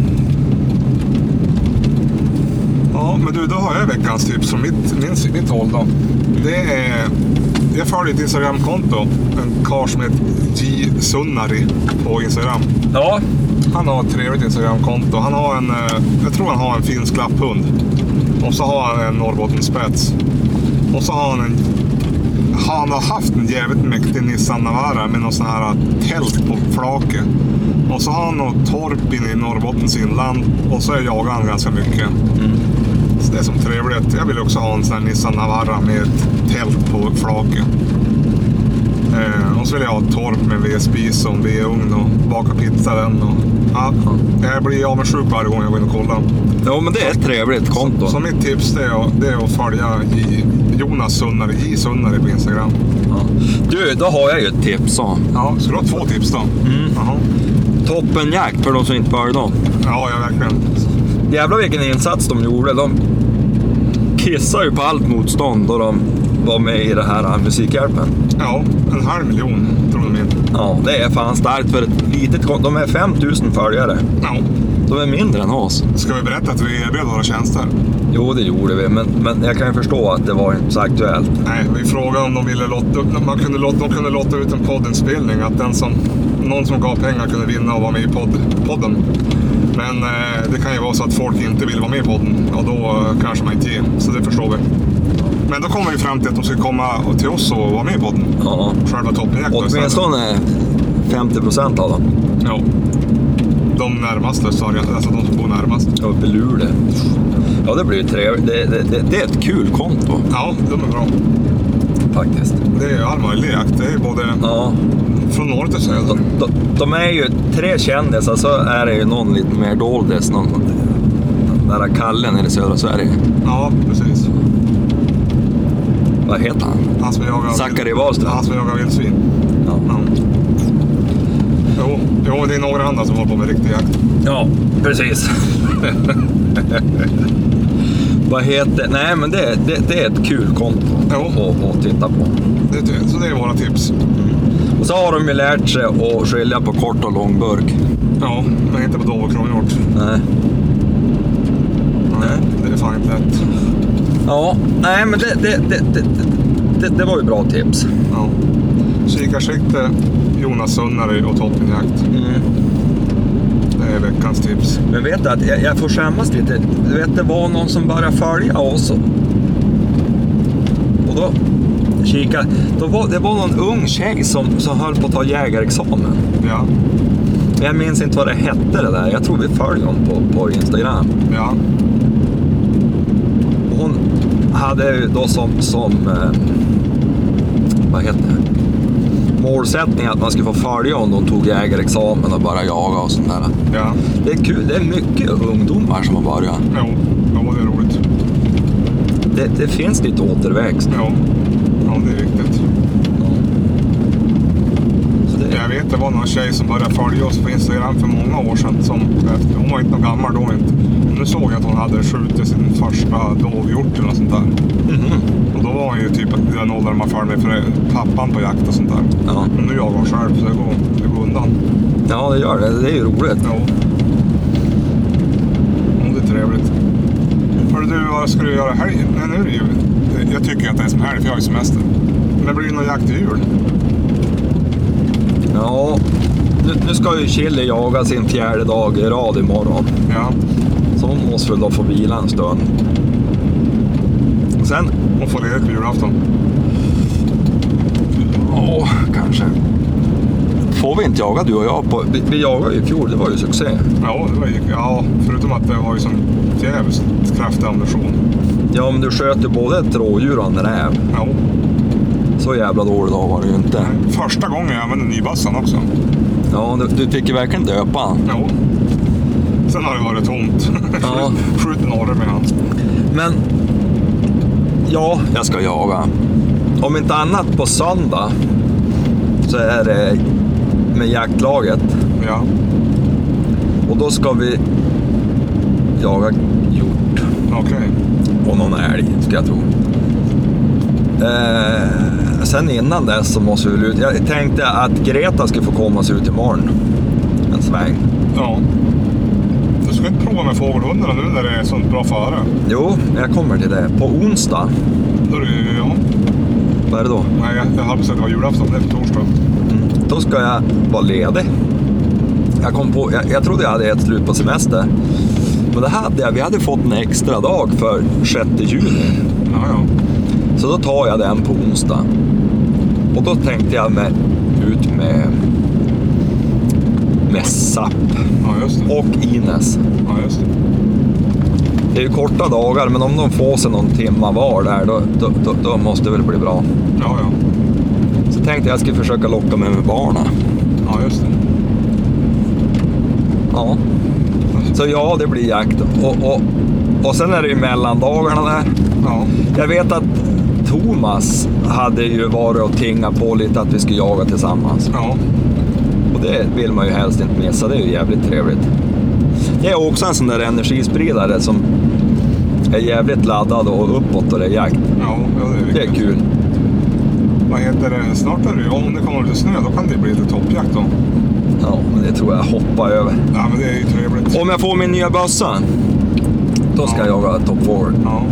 S3: Ja, men du, då har jag veckans tips från mitt, min, mitt håll då. Det är... Jag följer ett Instagramkonto. En karl som heter J. Sunnari på Instagram.
S1: Ja,
S3: Han har ett trevligt Instagramkonto. Han har en, eh, jag tror han har en finsk lapphund. Och så har han en Norrbottenspets. Och så har han en, han har haft en jävligt mäktig Nissan Navara med någon sån här eh, tält på flaket. Och så har han något torp inne i Norrbottens inland. Och så jagar han ganska mycket. Så det är som trevligt. Jag vill också ha en sån här Nissan Navara med ett tält på flaket. Eh, och så vill jag ha ett torp med vedspis och en vedugn och baka pizza den. Och, ja, jag blir avundsjuk varje gång jag går in och kollar.
S1: ja men det är ett trevligt konto.
S3: Så mitt tips det är, att- det är att följa J, Jonas Sunnare, J Sunnare på Instagram.
S1: Ja. Du, då har jag ju ett tips. Så.
S3: Ja, ska du ha två tips då? Jaha.
S1: Toppenjakt för de som inte började dem.
S3: Ja, ja verkligen.
S1: Jävlar vilken insats de gjorde. De kissade ju på allt motstånd då de var med i det här eh, Musikhjälpen.
S3: Ja, en halv miljon tror de inte.
S1: Ja, det är fan starkt för ett litet konto. De är 5000 följare.
S3: Ja.
S1: De är mindre än oss.
S3: Ska vi berätta att vi erbjöd våra tjänster?
S1: Jo, det gjorde vi, men, men jag kan ju förstå att det var inte så aktuellt.
S3: Nej, vi frågade om de ville lotta, om man kunde lotta, de kunde lotta ut en poddinspelning. Att den som, någon som gav pengar kunde vinna och vara med i podd, podden. Men eh, det kan ju vara så att folk inte vill vara med i podden och då eh, kanske man inte ger. Så det förstår vi. Men då kommer vi fram till att de ska komma till oss och vara med i podden.
S1: Ja.
S3: Själva toppjakten
S1: Åtminstone 50 procent av dem.
S3: Ja. De närmaste, sa jag. Alltså de som bor närmast.
S1: Uppe i Luleå. Ja, det blir ju trevligt. Det, det, det, det är ett kul konto
S3: Ja, de är bra.
S1: faktiskt.
S3: Det är ju all möjlig jakt. Det är både
S1: Ja.
S3: från norr till söder.
S1: De, de, de är ju tre kändisar, så är det ju någon lite mer doldis. Någon, den där Kalle nere i södra Sverige.
S3: Ja, precis.
S1: Vad heter han?
S3: Han som jagar...
S1: Zackari Wahlström.
S3: Han som jagar vildsvin.
S1: Ja.
S3: Ja. Jo, jo, det är några andra som håller på med riktig jakt.
S1: Ja, precis. Vad heter... Nej, men det, det, det är ett kul konto
S3: Ja.
S1: att, att titta på.
S3: Det, är- så det är våra tips.
S1: Och så har de ju lärt sig att skilja på kort och lång burk.
S3: Ja, men inte på dov och kronhjort.
S1: Nej.
S3: Nej, det är fan inte lätt.
S1: Ja, nej men det, det, det, det, det, det var ju bra tips.
S3: Ja. Kikarsikte, Jonas Sunnary och toppenjakt.
S1: Mm.
S3: Det är veckans tips.
S1: Men vet du att jag, jag får skämmas lite. Du vet, det var någon som började följa oss. Och och då kika. Då var, det var någon ung tjej som, som höll på att ta jägarexamen.
S3: Ja,
S1: Men Jag minns inte vad det hette det där. Jag tror vi följer hon på, på Instagram.
S3: ja,
S1: Och Hon hade ju då som, som eh, vad heter det? målsättning att man skulle få följa om de tog jägarexamen och bara jaga och sånt där.
S3: ja.
S1: Det är kul. Det är mycket ungdomar som har börjat.
S3: Jo, jo det är roligt.
S1: Det, det finns lite återväxt.
S3: Jo, ja, det är viktigt.
S1: Så det,
S3: Jag vet det var någon tjej som började följa oss på Instagram för många år sedan. Som, hon var inte någon gammal då inte. Nu såg jag att hon hade skjutit sin första dovhjort eller något sånt där.
S1: Mhm.
S3: Och då var hon ju typ i den åldern man följer med för pappan på jakt och sånt där.
S1: ja.
S3: Men nu jagar hon själv så det går, det går undan.
S1: ja, det gör det. Det är ju roligt.
S3: Jo. Jo, det är trevligt. Hörru du, vad ska du göra i helgen? Nej, nu är det ju... Jag tycker att det är som helg för jag har ju semester. Men blir det någon jakt i jul?
S1: Ja, nu, nu ska ju Chili jaga sin fjärde dag i rad imorgon.
S3: Ja.
S1: Så hon måste väl då få vila en stund. Och Sen,
S3: Hon får ledigt på julafton.
S1: ja, kanske. Får vi inte jaga du och jag? På, vi, vi jagade ju i fjol, det var ju succé.
S3: Ja, det var, ju- ja, förutom att det var ju som djävulskt kraftig ammunition.
S1: Ja, men du sköt ju både ett rådjur och en räv.
S3: Ja.
S1: Så jävla dålig dag var det ju inte.
S3: Första gången jag använde nybassan också.
S1: Ja, du, du fick ju verkligen döpa han.
S3: Ja. Sen har det varit tomt.
S1: Ja.
S3: Skjut- Skjut norr med han.
S1: Men ja, jag ska jaga. Om inte annat på söndag så är det med jaktlaget
S3: Ja.
S1: och då ska vi jaga hjort
S3: Okej.
S1: och någon älg ska jag tro. Eh, sen innan dess så måste vi väl ut. Jag tänkte att Greta skulle få komma och se ut imorgon. En sväng.
S3: Ja. Du ska inte prova med fågelhundarna nu när det är sånt bra före.
S1: Jo, jag kommer till det. På onsdag,
S3: Då är det ju- ja.
S1: vad är det då?
S3: Nej, jag, jag hade sett det var julafton. Det är på torsdag.
S1: Då ska jag vara ledig. Jag, kom på, jag, jag trodde jag hade ett slut på semester. Men det hade jag. Vi hade fått en extra dag för 6 juni.
S3: Ja, ja.
S1: Så då tar jag den på onsdag. Och då tänkte jag med, ut med, med SAP
S3: Ja, just det.
S1: och Ines.
S3: Ja, just det.
S1: Det är ju korta dagar, men om de får sig någon timma var där, då, då, då, då måste det väl bli bra.
S3: Ja, ja.
S1: Så tänkte jag skulle försöka locka mig med barnen.
S3: Ja, just det.
S1: Ja. Så ja, det blir jakt. Och, och, och sen är det ju mellandagarna där.
S3: Ja.
S1: Jag vet att Thomas hade ju varit och tingat på lite att vi skulle jaga tillsammans.
S3: Ja.
S1: Och det vill man ju helst inte missa. Det är ju jävligt trevligt. Det är också en sån där energispridare som är jävligt laddad och uppåt och det är jakt.
S3: Ja, ja det är viktigt.
S1: Det är kul.
S3: Vad heter det? Snart är det ju, om det kommer lite snö, då kan det bli lite toppjakt då.
S1: Ja, men det tror jag hoppar över.
S3: Ja, men det är ju trevligt.
S1: Om jag får min nya bössa, då ska jag jaga top forward.
S3: Ja.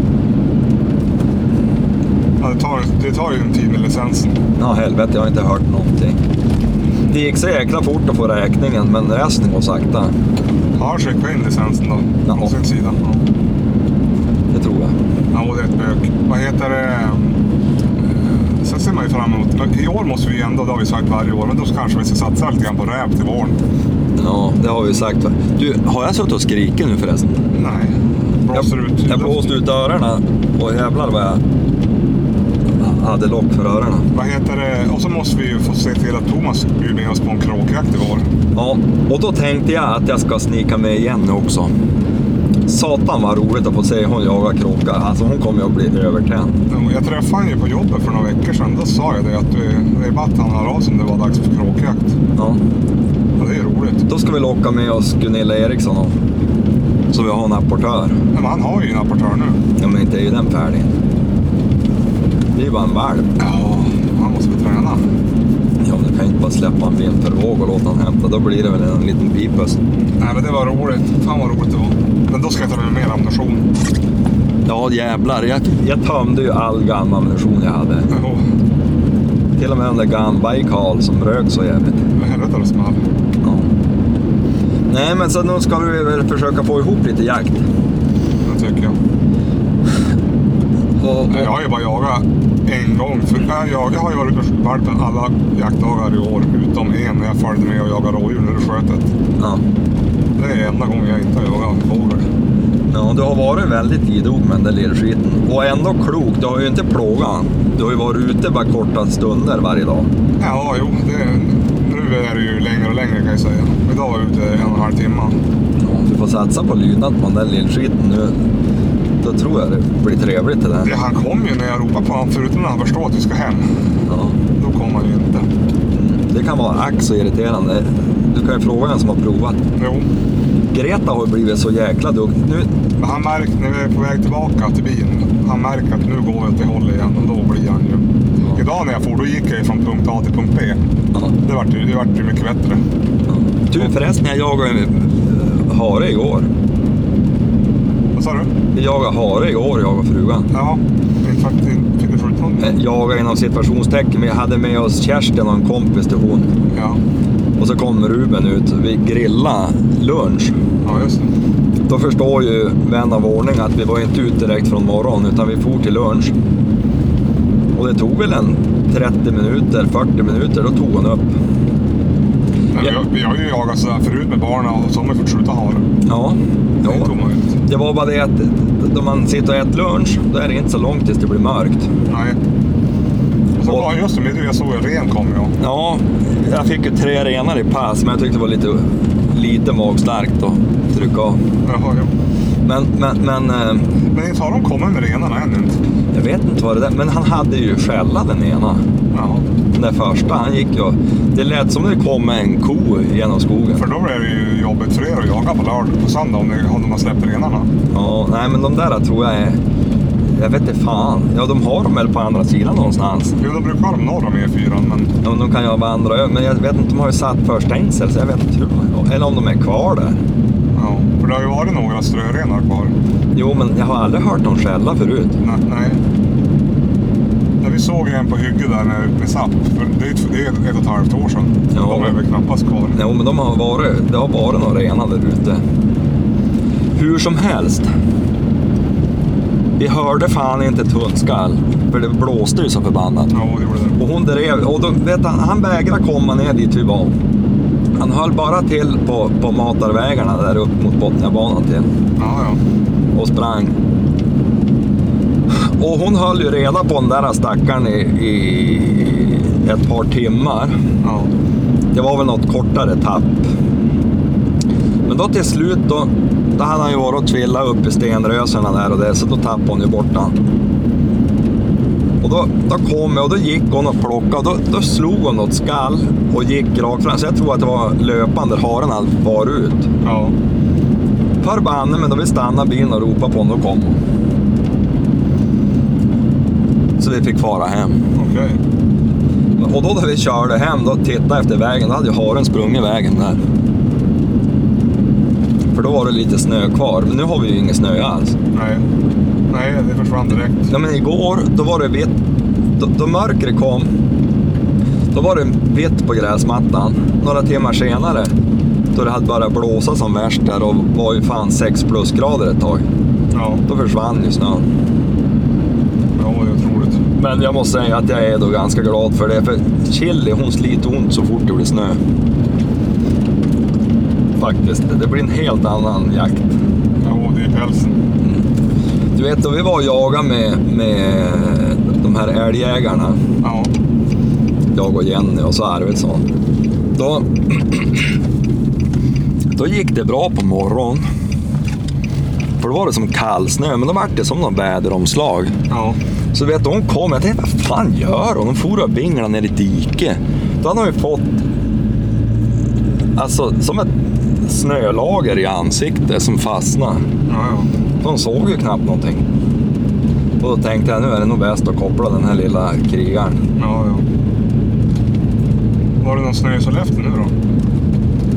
S3: ja det, tar, det tar ju en tid med licensen.
S1: Ja, helvete, jag har inte hört någonting. Det gick så jäkla fort att få räkningen, men resten går sakta.
S3: Ja, skicka in licensen då.
S1: Jaha.
S3: Från sin sida. Ja.
S1: det tror jag.
S3: Ja, och det är ett bök. Vad heter det? Eh, Sen ser man ju fram emot, men i år måste vi ju ändå, det har vi sagt varje år, men då kanske vi ska satsa lite grann på räv till våren.
S1: Ja, det har vi sagt. va. Du, har jag suttit och skrikit nu förresten?
S3: Nej, blåser
S1: jag,
S3: ut.
S1: Jag blåste ut öronen och jävlar vad jag hade lock för öronen.
S3: Vad heter det? Och så måste vi ju få se till att Thomas bjuder med oss på en kråkjakt i vår.
S1: Ja, och då tänkte jag att jag ska snika med igen nu också. Satan vad roligt att få se hon jaga kråka. Alltså hon kommer ju att bli övertänd.
S3: Och Mm, Jag träffade han ju på jobbet för några veckor sedan. Då sa jag det att vi, det är bara att han hör av sig om det var dags för kråkjakt.
S1: Ja.
S3: Ja, det är roligt.
S1: Då ska vi locka med oss Gunilla Eriksson då. Så vi har en apportör.
S3: Men han har ju en apportör nu.
S1: Ja men inte är ju den färdig. Det är ju bara en valp.
S3: Ja, han måste vi träna.
S1: Ja men du kan ju inte bara släppa en vind för våg och låta den hämta. Då blir det väl en liten pipus.
S3: Nej, men det var roligt. Fan vad roligt det var. Men då ska jag ta med mer ammunition.
S1: Ja jävlar, jag, jag tömde ju all gammal ammunition jag hade.
S3: Åh,
S1: Till och med den där Gun Baikal som rök så jävligt.
S3: Vad helvete vad det small.
S1: Ja. Nej men så nu ska vi väl försöka få ihop lite jakt.
S3: Det tycker jag.
S1: Och, och,
S3: Jag har ju bara jagat en gång. För jag, jag, jag har ju varit ute och skjutit valpen alla jaktdagar i år. Utom en när jag följde med och jagade rådjur när du sköt ett.
S1: ja.
S3: Det är enda gången jag inte har jagat fågel.
S1: Ja, du har varit väldigt idog med den där lillskiten. Och ändå klok, du har ju inte plågat han. Du har ju varit ute bara korta stunder varje dag.
S3: Ja, jo. Det, nu är det ju längre och längre kan jag säga. Idag var jag ute en och en halv timme.
S1: Ja, du får satsa på lydnad på den där lillskiten nu. Då tror jag det blir trevligt det
S3: Det,
S1: där.
S3: han kom ju när jag ropade på honom. Förutom när han förstod att vi ska hem.
S1: Ja.
S3: Då kom han ju inte.
S1: Mm, Det kan vara ack så irriterande. Du kan ju fråga en som har provat.
S3: Jo.
S1: Greta har ju blivit så jäkla duktig. Nu,
S3: Men han märkte när vi är på väg tillbaka till bilen. Han märker att nu går vi åt det hållet igen och då blir han ju...
S1: Ja.
S3: Idag när jag for, då gick jag ju från punkt A till punkt B.
S1: ja,
S3: Det vart ju, det vart ju mycket bättre.
S1: ja. Du förresten, jag jagade ju eh, hare igår.
S3: Vad sa du?
S1: Vi jagade hare igår, jag och frugan.
S3: Ja, inte för att inte fick du skjuta någon.
S1: Eh, Jaga inom situationstecken. Vi hade med oss Kerstin och en kompis till hon.
S3: Ja,
S1: Och så kom Ruben ut, vi grillade lunch.
S3: ja just det.
S1: Då förstår ju vän av ordning att vi var inte ute direkt från morgon utan vi for till lunch. Och det tog väl en 30 minuter, 40 minuter, då tog hon upp.
S3: Men vi,
S1: Ja.
S3: har, vi har ju jagat sådär förut med barnen och så har man ju fått skjuta hare.
S1: Ja,
S3: Det är
S1: ja.
S3: inte omöjligt.
S1: det var bara det att då man sitter och äter lunch, då är det inte så långt tills det blir mörkt.
S3: Nej. Och så
S1: Och-
S3: var just det, men jag såg en ren kom jag.
S1: Ja, jag fick ju tre renar i pass, men jag tyckte det var lite, lite magstarkt att trycka av.
S3: Jaha, ja.
S1: Men, men, men eh,
S3: Men inte har de kommit med renarna än inte.
S1: jag vet inte vad det där, men han hade ju skälla den ena.
S3: Ja.
S1: Den där första, han gick ju... Det lät som det kom en ko genom skogen.
S3: För då blir det ju jobbigt för er att jaga på lördag, på söndag om, ni, om de har släppt renarna.
S1: Ja, nej men de där tror jag är... Jag vet inte fan. Ja, de har dem väl på andra sidan någonstans.
S3: Jo, de brukar ha dem norr om E4, men
S1: Ja, men de kan ju ha vandrat över. Men jag vet inte, de har ju satt för stängsel så jag vet inte hur de... Eller om de är kvar där.
S3: ja. För det har ju varit några strörenar kvar.
S1: Jo, men jag har aldrig hört dem skälla förut.
S3: Nej. nej. När vi såg en på hygge där när, med SAP, för det är, ju- det är ett och ett halvt år sedan.
S1: Ja.
S3: De är väl knappast kvar.
S1: Jo, men de har varit... Det har varit några renar där ute. Hur som helst. Vi hörde fan inte ett hundskall. För det blåste ju så förbannat.
S3: Ja, det gjorde det.
S1: Och hon drev, och då, vet han, han vägrade komma ner dit vi var. Han höll bara till på, på matarvägarna där upp mot Botniabanan till
S3: Ja, ja.
S1: och sprang. Och hon höll ju reda på den där stackaren i, i ett par timmar.
S3: ja.
S1: Det var väl något kortare tapp. Men då till slut då, då hade han ju varit och tvillat upp i stenrösarna där och där, så då tappade hon ju bort han. Och då, då kom jag och då gick hon och plockade och då, då slog hon något skall och gick rakt fram. Så jag tror att det var löpande, där haren hade farit ut.
S3: ja.
S1: Förbanne men då vi stannade bilen och ropade på honom, då kom hon. Så vi fick fara hem.
S3: Okej.
S1: Och då när vi körde hem, då tittade jag efter vägen, då hade ju haren sprungit vägen där. För då var det lite snö kvar, men nu har vi ju ingen snö alls.
S3: Nej. Nej, det försvann direkt.
S1: Ja, men igår, då var det vitt. Då, då mörkret kom, då var det vitt på gräsmattan. Några timmar senare, då det hade börjat blåsa som värst där och var ju fan 6 plusgrader ett tag.
S3: Ja,
S1: Då försvann ju snön.
S3: ja det är otroligt.
S1: Men jag måste säga att jag är då ganska glad för det. För Chili, hon sliter ont så fort det blir snö. Faktiskt. Det blir en helt annan jakt.
S3: Ja, det är pälsen.
S1: Du vet, då vi var och jagade med, med de här älgjägarna,
S3: Ja,
S1: jag och Jenny och så Arvidsson. Då, då gick det bra på morgonen. För då var det som kallsnö, men då var det som någon väderomslag.
S3: ja,
S1: Så vet du, hon kom, jag tänkte vad fan gör hon? Hon for och vinglade ner i diket. Då hade hon ju fått, alltså som ett snölager i ansiktet som fastnade.
S3: ja,
S1: Så hon såg ju knappt någonting. Och då tänkte jag, nu är det nog bäst att koppla den här lilla krigaren.
S3: ja, ja. Var det någon snö i Sollefteå nu då?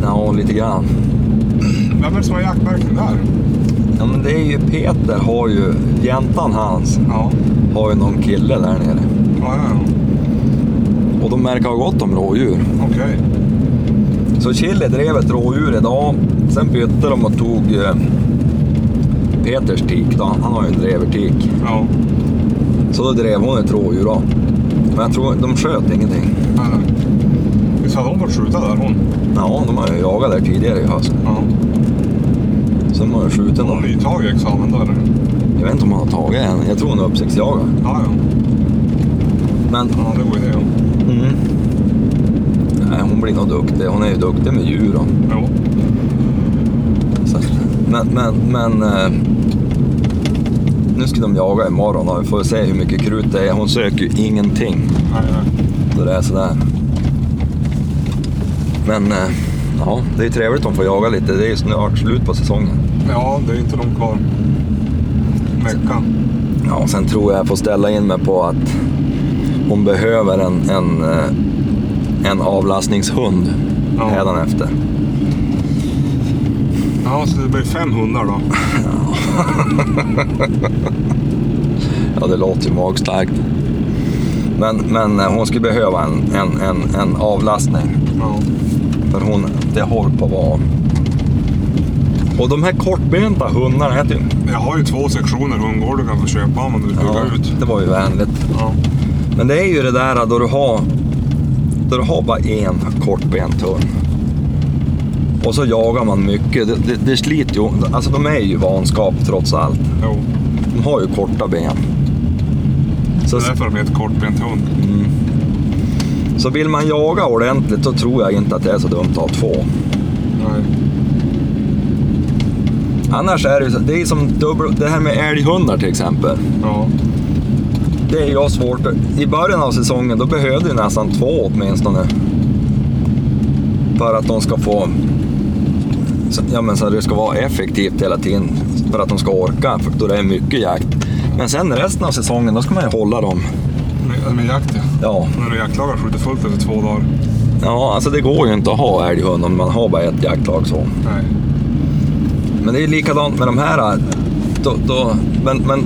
S1: Ja, lite grann.
S3: Vem är det som har jaktmärken där?
S1: Ja, men det är ju Peter har ju, jäntan hans,
S3: Ja,
S1: har ju någon kille där nere.
S3: ja, ja, ja.
S1: Och de märker gott om rådjur.
S3: okej.
S1: Så Chile drev ett rådjur idag, sen bytte de och tog eh, Peters tik då, han har ju en drevertik.
S3: Ja,
S1: Så då drev hon ett rådjur då. Men jag tror de sköt ingenting.
S3: nej, nej. Visst hade hon fått skjuta där hon?
S1: Ja, de har ju jagat där tidigare i höst.
S3: Ja.
S1: Så de har ju skjutit
S3: Hon
S1: någon.
S3: nytagit examen då eller?
S1: Jag vet inte om han har tagit en, jag tror han är uppsiktsjagare.
S3: Ja, ja.
S1: Men
S3: Ja, det går ju det. Ja.
S1: mm. Nej, hon blir nog duktig. Hon är ju duktig med djur. Då.
S3: Jo.
S1: Så, men, men, men... eh, Nu ska de jaga imorgon och vi får se hur mycket krut det är. Hon söker ju ingenting.
S3: Nej, nej.
S1: Så det är sådär. Men eh, ja, det är ju trevligt att de får jaga lite. Det är ju snart slut på säsongen.
S3: Ja, det är inte långt kvar. En vecka.
S1: Ja, och sen tror jag jag får ställa in mig på att hon behöver en, en, eh, en avlastningshund
S3: Ja.
S1: hädanefter.
S3: Ja, så det blir fem hundar då.
S1: Ja, det låter ju magstarkt. Men, men eh, hon skulle behöva en, en, en, en avlastning.
S3: Ja.
S1: För hon, det håller på att vara av. Och de här kortbenta hundarna heter ju...
S3: Jag har ju två sektioner hundgård du kan få köpa om du vill ja. ut.
S1: det var ju vänligt.
S3: Ja.
S1: Men det är ju det där då du har, då du har bara en kortbent hund. Och så jagar man mycket. Det, det, det sliter ju. Alltså de är ju vanskap trots allt.
S3: Jo.
S1: De har ju korta ben.
S3: Det
S1: Så,
S3: är därför de heter kortbent hund.
S1: så vill man jaga ordentligt så tror jag inte att det är så dumt att ha två.
S3: Nej.
S1: Annars är det ju så- det är som dubbel, det här med älghundar till exempel.
S3: Ja.
S1: Det är jag svårt. I början av säsongen då behövde jag nästan två åtminstone. För att de ska få... så- Ja, men så att det ska vara effektivt hela tiden. För att de ska orka, för då det är mycket jakt. Men sen resten av säsongen, då ska man ju hålla dem.
S3: Med, med jakt ja.
S1: Ja,
S3: När du jaktlagar skjuter fullt efter två dagar.
S1: ja alltså det går ju inte att ha älghund om man har bara ett jaktlag så.
S3: Nej.
S1: Men det är ju likadant med de här. Då, då, men, men,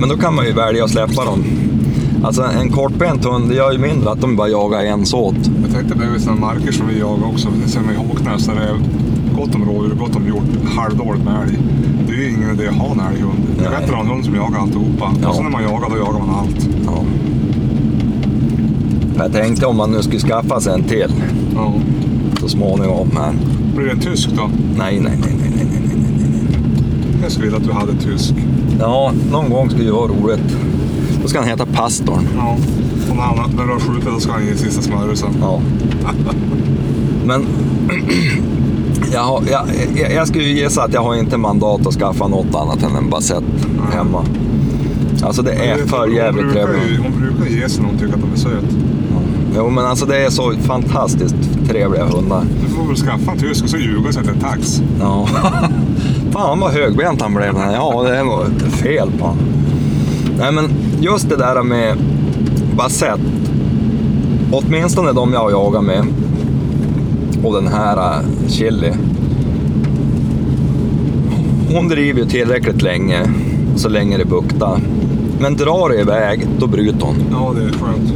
S1: men då kan man ju välja att släppa dem. Alltså en kortbent hund, det gör ju mindre att de bara jagar ensåt.
S3: Jag tänkte bredvid sådana marker som vi jagar också. Det ser man i Håknäs där det är gott om rådjur, gott om hjort, halvdåligt med älg. Det är ju ingen idé att ha en älghund. Det är
S1: Nej.
S3: bättre att ha en hund som jagar alltihopa.
S1: Ja.
S3: Och sen när man jagar, då jagar man allt.
S1: Ja. Jag tänkte om man nu skulle skaffa sig en till
S3: Ja.
S1: så småningom. Men
S3: Blir det en tysk då?
S1: nej, nej, nej, nej, nej, nej, nej, nej, nej.
S3: Jag skulle vilja att du hade tysk.
S1: Ja, någon gång skulle det vara roligt. Då ska han heta pastorn.
S3: Ja. Och när, han, när du har skjutit, då ska han ge sista smörelsen.
S1: Ja. Men jag, har, jag, jag, jag skulle ju gissa att jag har inte mandat att skaffa något annat än en basett hemma. Alltså det är för jävligt trevligt.
S3: trevligt. Hon brukar ge sig när hon tycker att de är söt.
S1: Jo, men alltså det är så fantastiskt trevliga hundar.
S3: Du får väl skaffa en tysk och så ljuga och säga att det är tax.
S1: Ja. Fan vad högbent han blev. Ja, det är nog fel på han. Nej, men just det där med basett. Åtminstone de jag jagar med. Och den här eh, Chili. Hon driver ju tillräckligt länge, så länge det buktar. Men drar det iväg, då bryter hon.
S3: Ja, det är skönt.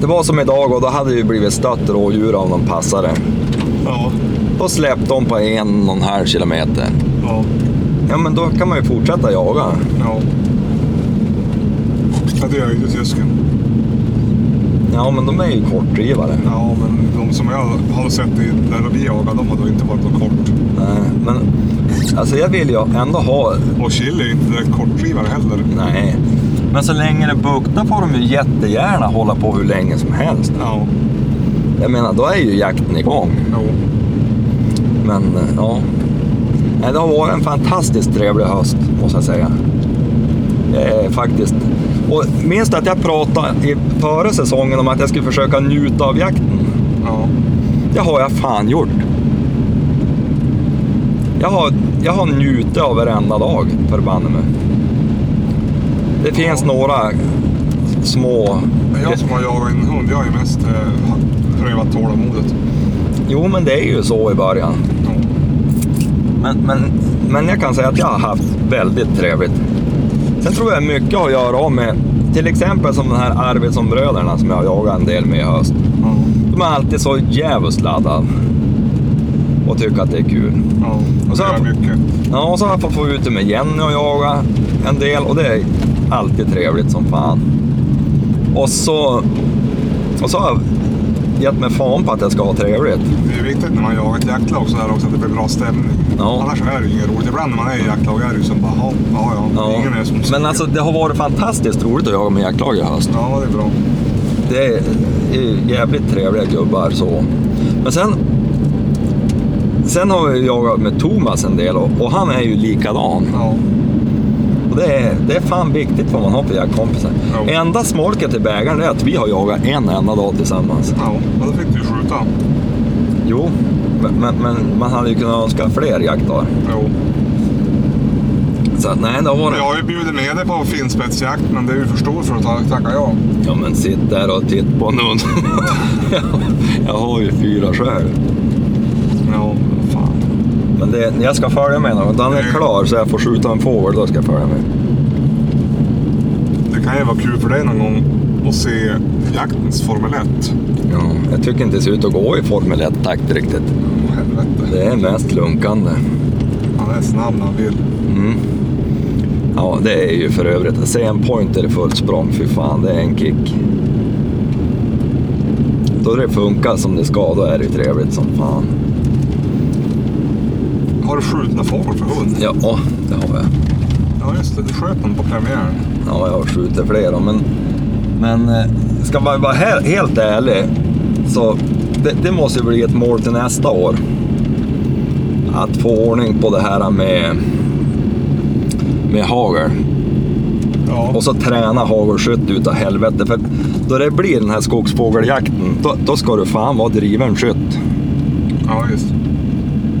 S1: Det var som idag och då hade det ju blivit stött rådjur av någon passare.
S3: Ja.
S1: Då släppte hon på en och en halv kilometer.
S3: Ja.
S1: Ja, Ja, men då kan man ju fortsätta jaga.
S3: Ja. Ja, det gör ju inte tysken.
S1: Ja, men de är ju kortdrivare.
S3: Ja, men de som jag har sett i, där vi jagar, de har då inte varit något kort.
S1: Nej, men alltså jag vill ju ändå ha...
S3: Och chili är ju inte direkt kortdrivare heller.
S1: Nej. Men så länge det buktar får de ju jättegärna hålla på hur länge som helst.
S3: Ja,
S1: Jag menar, då är ju jakten igång.
S3: jo.
S1: Men eh, ja. Nej, det har varit en fantastiskt trevlig höst, måste jag säga. Eh, faktiskt. Och minns du att jag pratade i, före säsongen om att jag skulle försöka njuta av jakten?
S3: Ja.
S1: Det har jag fan gjort. Jag har, jag har njutit av varenda dag, förbanne mig. Det finns några små...
S3: Jag som har jagat en hund, jag har ju mest eh, ha- prövat tålamodet.
S1: Jo, men det är ju så i början.
S3: Ja.
S1: Men, men, men jag kan säga att jag har haft väldigt trevligt. Sen tror jag mycket har att göra av med, till exempel som den här Arvidsson-bröderna som jag har jagat en del med i höst.
S3: Ja.
S1: De är alltid så djävulskt laddade och tycker att det är kul.
S3: ja.
S1: Och
S3: Och
S1: så
S3: så
S1: har-
S3: mycket.
S1: Ja, och så har jag fått få ut det med Jenny och jaga en del och det är alltid trevligt som fan. Och så, och så har jag gett mig fan på att jag ska ha trevligt.
S3: Det är viktigt när man jagar ett jaktlag så här också att det blir bra stämning.
S1: Ja.
S3: Annars är det ju inget roligt. Ibland när man är i jaktlag är det ju som bara, ja, ja, ja.
S1: Ja.
S3: ingen är som
S1: Men alltså det har varit fantastiskt roligt att jaga med jaktlag i höst.
S3: Ja, det är bra.
S1: Det är eh, jävligt trevliga gubbar så. Men sen, sen har jag jagat med Thomas en del och, och han är ju likadan.
S3: Ja,
S1: Och det, är, det är fan viktigt vad man har för jaktkompisar.
S3: Ja.
S1: Enda smolket i bägaren är att vi har jagat en enda dag tillsammans.
S3: ja. ja då fick du ju skjuta.
S1: Jo, men, men, men man hade ju kunnat önska fler jaktdagar.
S3: Jo.
S1: Så att, nej, det har varit...
S3: Jag har ju bjudit med dig på finspetsjakt, men det är ju för stor för att ta- tacka ja.
S1: Ja, men sitt där och titt på en hund. jag har ju fyra själv.
S3: Ja, fan.
S1: Men det, jag ska följa med någon. Den är
S3: Mm.
S1: klar så jag får skjuta en fågel, då ska jag följa med.
S3: Det kan ju vara kul för dig någon gång att se jaktens Formel 1.
S1: Ja, jag tycker inte det ser ut att gå i Formel 1-takt riktigt.
S3: Åh, helvete.
S1: Det är mest lunkande.
S3: Han är snabb när han vill.
S1: Mm. Ja, det är ju för övrigt. Se en pointer i fullt språng, fy fan, det är en kick. Då det funkar som det ska, då är det ju trevligt som fan.
S3: Har du skjutna fågel för hund?
S1: Ja, åh, det har jag.
S3: Ja, just det. Du sköt någon på premiären.
S1: Ja, jag har skjutit flera, men... Men eh, ska man vara he- helt ärlig, så det, det måste ju bli ett mål till nästa år. Att få ordning på det här med, med hagel.
S3: Ja.
S1: Och så träna hagelskytt utav helvete. För då det blir den här skogsfågeljakten, då, då ska du fan vara driven skytt.
S3: Ja, just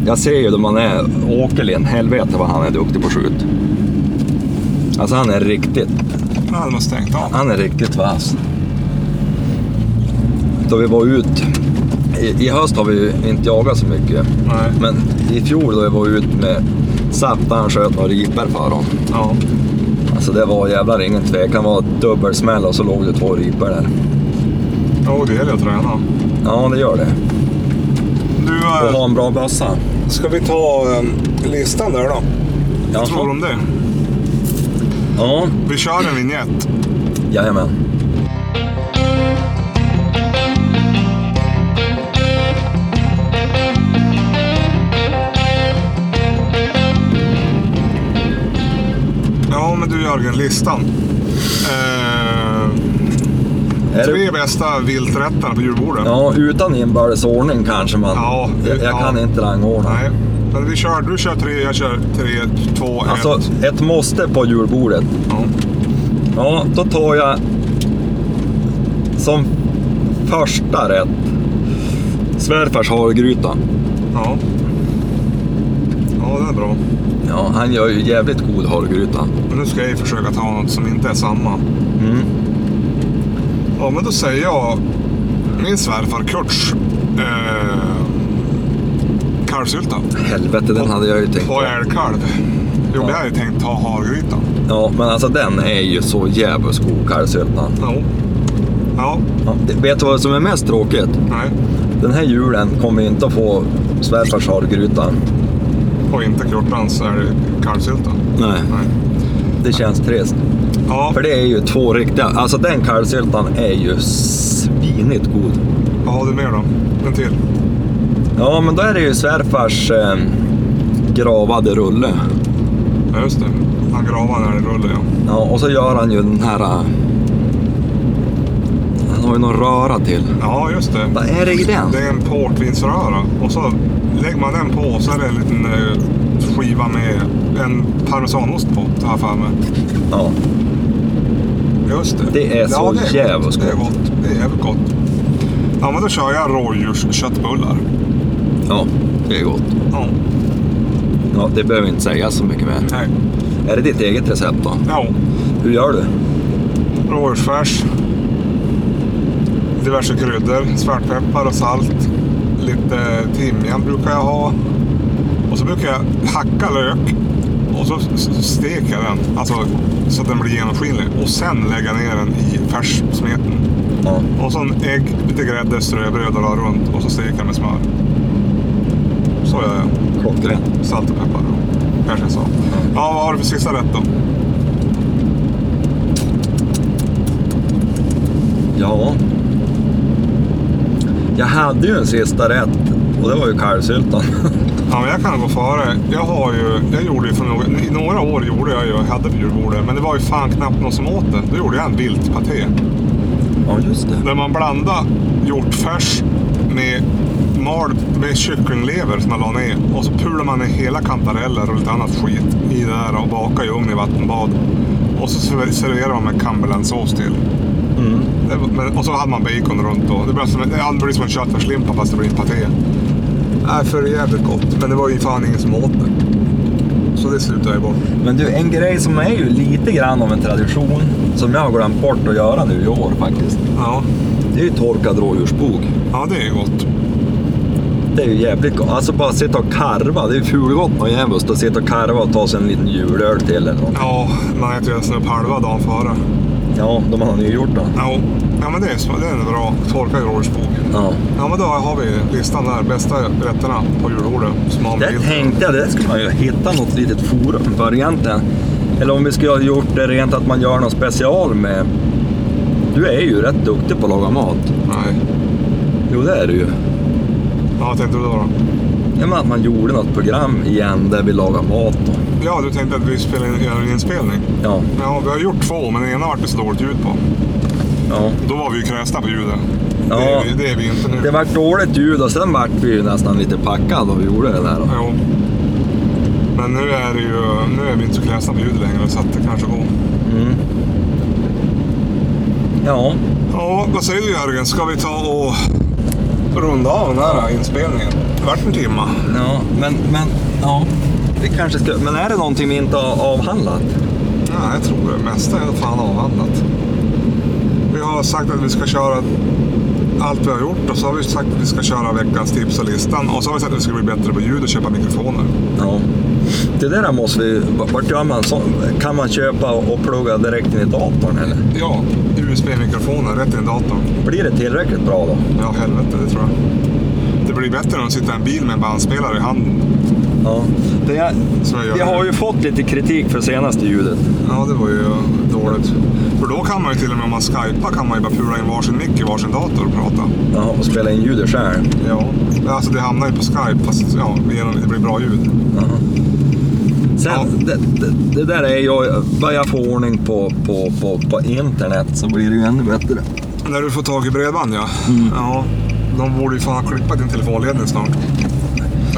S1: Jag ser ju då man är Åkerlind, helvete vad han är duktig på skjut. Alltså han är riktigt,
S3: Nu hade man stängt av.
S1: han är riktigt vass. Då vi var ut, i, i höst har vi ju inte jagat så mycket.
S3: Nej.
S1: Men i fjol då vi var ut med Zappa, han sköt några ripor för dem.
S3: Ja.
S1: Alltså det var jävlar ingen tvekan, det var dubbelsmäll och så låg det två ripor där.
S3: Jo, det gäller att träna.
S1: Ja, det gör det.
S3: Du,
S1: Och ha
S3: eh,
S1: en bra bössa.
S3: ska vi ta eh, listan där då? Vad tror du om det?
S1: Ja,
S3: Vi kör en vignett.
S1: jajamän.
S3: Ja, men du Jörgen, listan. Eh,
S1: Är
S3: tre
S1: det,
S3: bästa vilträtterna på julbordet.
S1: ja, utan inbördes ordning kanske man...
S3: Ja,
S1: jag, jag
S3: ja.
S1: kan inte rangordna.
S3: Nej, men vi kör, du kör tre, jag kör tre, två,
S1: Alltså,
S3: ett.
S1: ett måste på julbordet.
S3: Ja.
S1: Ja, då tar jag som första rätt svärfars havregryta.
S3: ja. Ja, det är bra.
S1: Ja, han gör ju jävligt god havregryta.
S3: Men nu ska jag ju försöka ta något som inte är samma.
S1: Mm.
S3: Ja, men då säger jag min svärfar Kurts eh, kalvsylta.
S1: Helvete, den hade jag ju tänkt.
S3: På älgkalv. Jo,
S1: Ja.
S3: det hade jag tänkt ta hargryta.
S1: Ja, men alltså den är ju så jävligt god, kalvsyltan.
S3: Jo. Ja,
S1: Ja, det- vet du vad som är mest tråkigt?
S3: nej.
S1: Den här julen kommer vi inte att få svärfars havregryta.
S3: och inte Kurtans är det kalvsyltan.
S1: Nej,
S3: Nej.
S1: det känns trist.
S3: Ja,
S1: För det är ju två riktiga... Alltså den kalvsyltan är ju svinigt god.
S3: vad har du mer då? En till?
S1: Ja, men då är det ju svärfars eh, gravade rulle.
S3: Ja, just det. Han gravar när det rullar, ja.
S1: Ja, och så gör han ju den här... eh, Han har ju någon röra till.
S3: Ja, just det.
S1: Vad är det i den?
S3: Det är en portvinsröra och så lägger man den på och så är det en liten eh, skiva med en parmesanost på, har jag för mig.
S1: Ja.
S3: Just det.
S1: Det är så
S3: det är
S1: jävligt
S3: gott. Det är gott. Det är jävligt gott. Ja, men då kör jag rådjursköttbullar.
S1: ja, det är gott.
S3: Ja.
S1: Mm. Ja, det behöver vi inte säga så mycket mer.
S3: Nej.
S1: Är det ditt eget recept då?
S3: Ja.
S1: Hur gör du?
S3: Rådjursfärs. Diverse kryddor. Svartpeppar och salt. Lite timjan brukar jag ha. Och så brukar jag hacka lök. Och så s- s- steker jag den. Alltså så att den blir genomskinlig. Och sen lägga ner den i färssmeten.
S1: Ja.
S3: Och så en ägg, lite grädde, ströbröd och la runt. Och så steker jag med smör. Så gör jag.
S1: Klockrent.
S3: Salt och peppar. Kanske jag sa. Ja, vad har du för sista rätt då?
S1: Ja. Jag hade ju en sista rätt och det var ju kalvsyltan.
S3: Ja, men jag kan gå före. Jag har ju, jag gjorde ju för några, i några år gjorde jag ju, jag hade julbordet, men det var ju fan knappt någon som åt det. Då gjorde jag en viltpaté.
S1: ja, just det.
S3: Där man blandade hjortfärs med mald med kycklinglever som man la ner. Och så pulade man ner hela kantareller och lite annat skit i det där och bakade i ugn i vattenbad. Och så server- serverade man med cumberlandsås till.
S1: Mm.
S3: Det var- men- Och så hade man bacon runt då. Det blev som, det blir som en köttfärslimpa fast det blir en paté. Nej, för jävligt gott. Men det var ju fan ingen som åt det. Så det slutade jag bort.
S1: Men du, en grej som är ju lite grann av en tradition som jag har glömt bort att göra nu i år faktiskt.
S3: Ja.
S1: Det är ju torkad rådjursbog.
S3: Ja, det är ju gott.
S1: Det är ju jävligt gott. Alltså bara sitta och karva. Det är ju fulgott och jävligt att sitta och karva och ta sig en liten julöl till eller något.
S3: Ja, man äter ju nästan upp halva dagen före.
S1: Ja, de har nygjort då.
S3: Ja, ja men det är, sm- det är en bra torkad rådjursbog.
S1: Ja.
S3: Ja, men då har vi listan där. Bästa rätterna på julbordet. Som har med
S1: Där
S3: vilt.
S1: tänkte jag, där skulle man ju hitta något litet forum för egentligen. Eller om vi skulle ha gjort det rent att man gör något special med... Du är ju rätt duktig på att laga mat.
S3: Nej.
S1: Jo, det är du ju.
S3: Ja, vad tänkte du då? då?
S1: Jag menar att man gjorde något program igen där vi lagar mat. Och,
S3: Ja, du tänkte att vi spelar in, gör en inspelning.
S1: ja,
S3: Ja, vi har gjort två, men den ena vart det så dåligt ljud på.
S1: ja.
S3: Då var vi ju kräsna på ljudet.
S1: Ja.
S3: Det, är vi, det är vi inte nu.
S1: Det vart dåligt ljud och sen vart vi ju nästan lite packade och vi gjorde det där. Då.
S3: Jo. Men nu är, det ju, nu är vi inte så kräsna på ljud längre så att det kanske går.
S1: Mm. Ja,
S3: Ja, vad säger du Jörgen? Ska vi ta och runda av den här inspelningen? Det vart en timma.
S1: ja, men, men, ja. Vi kanske ska, men är det någonting vi inte har avhandlat?
S3: Nej, jag tror det mesta är fan avhandlat. Vi har sagt att vi ska köra allt vi har gjort och så har vi sagt att vi ska köra veckans tips och listan. Och så har vi sagt att vi ska bli bättre på ljud och köpa mikrofoner.
S1: Ja. Det där måste vi... Vart gör man så? Kan man köpa och plugga direkt in i datorn eller?
S3: Ja, USB-mikrofoner rätt in i datorn.
S1: Blir det tillräckligt bra då?
S3: Ja, helvete, det tror jag. Det blir bättre än att sitta i en bil med en bandspelare i handen.
S1: Ja. Det är,
S3: Så jag gör
S1: vi
S3: det.
S1: har ju fått lite kritik för senaste ljudet.
S3: Ja, det var ju dåligt. För då kan man ju till och med om man skypar kan man ju bara pula in varsin mick i varsin dator och prata.
S1: Ja, och spela in ljudet själv.
S3: Ja. Alltså det hamnar ju på Skype fast ja, genom- det blir bra ljud.
S1: Jaha. Sen,
S3: Ja.
S1: det, det, det där är ju... Vad jag får ordning på, på, på, på internet så blir det ju ännu bättre.
S3: När du får tag i bredband ja.
S1: Mm.
S3: Ja. De borde ju fan ha klippat din telefonledning snart.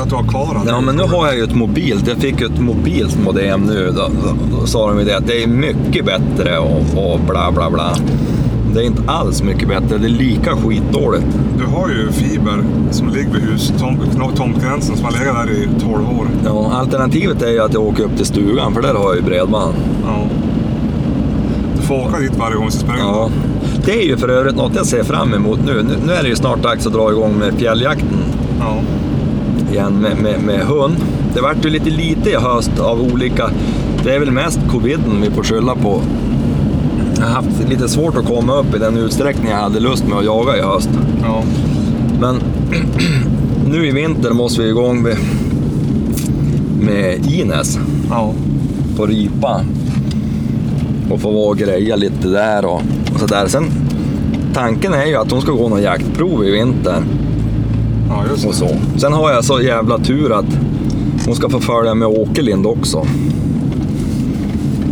S3: Att du har kvar den.
S1: Ja, men nu har jag ju ett mobilt. Jag fick ju ett mobilt modem nu. Då, då, då sa de ju det att det är mycket bättre och, och bla bla bla. Det är inte alls mycket bättre. Det är lika skitdåligt.
S3: Du har ju fiber som ligger vid hus, tom, kno- tomtgränsen som har legat där i 12 år.
S1: Ja, alternativet är ju att jag åker upp till stugan för där har jag ju bredband.
S3: Ja. Du får åka dit varje gång det spelar in.
S1: Ja. Det är ju för övrigt något jag ser fram emot nu. Nu, nu är det ju snart dags att dra igång med fjälljakten
S3: Ja.
S1: igen med, med, med hund. Det vart ju lite lite i höst av olika... Det är väl mest coviden vi får skylla på. Jag har haft lite svårt att komma upp i den utsträckning jag hade lust med att jaga i höst.
S3: ja.
S1: Men nu i vinter måste vi igång med med Ines
S3: Ja.
S1: på ripa och få vara och greja lite där och, och sådär. Sen, tanken är ju att hon ska gå någon jaktprov i vinter
S3: ja, just det.
S1: och så. Sen har jag så jävla tur att hon ska få följa med Åkerlind också.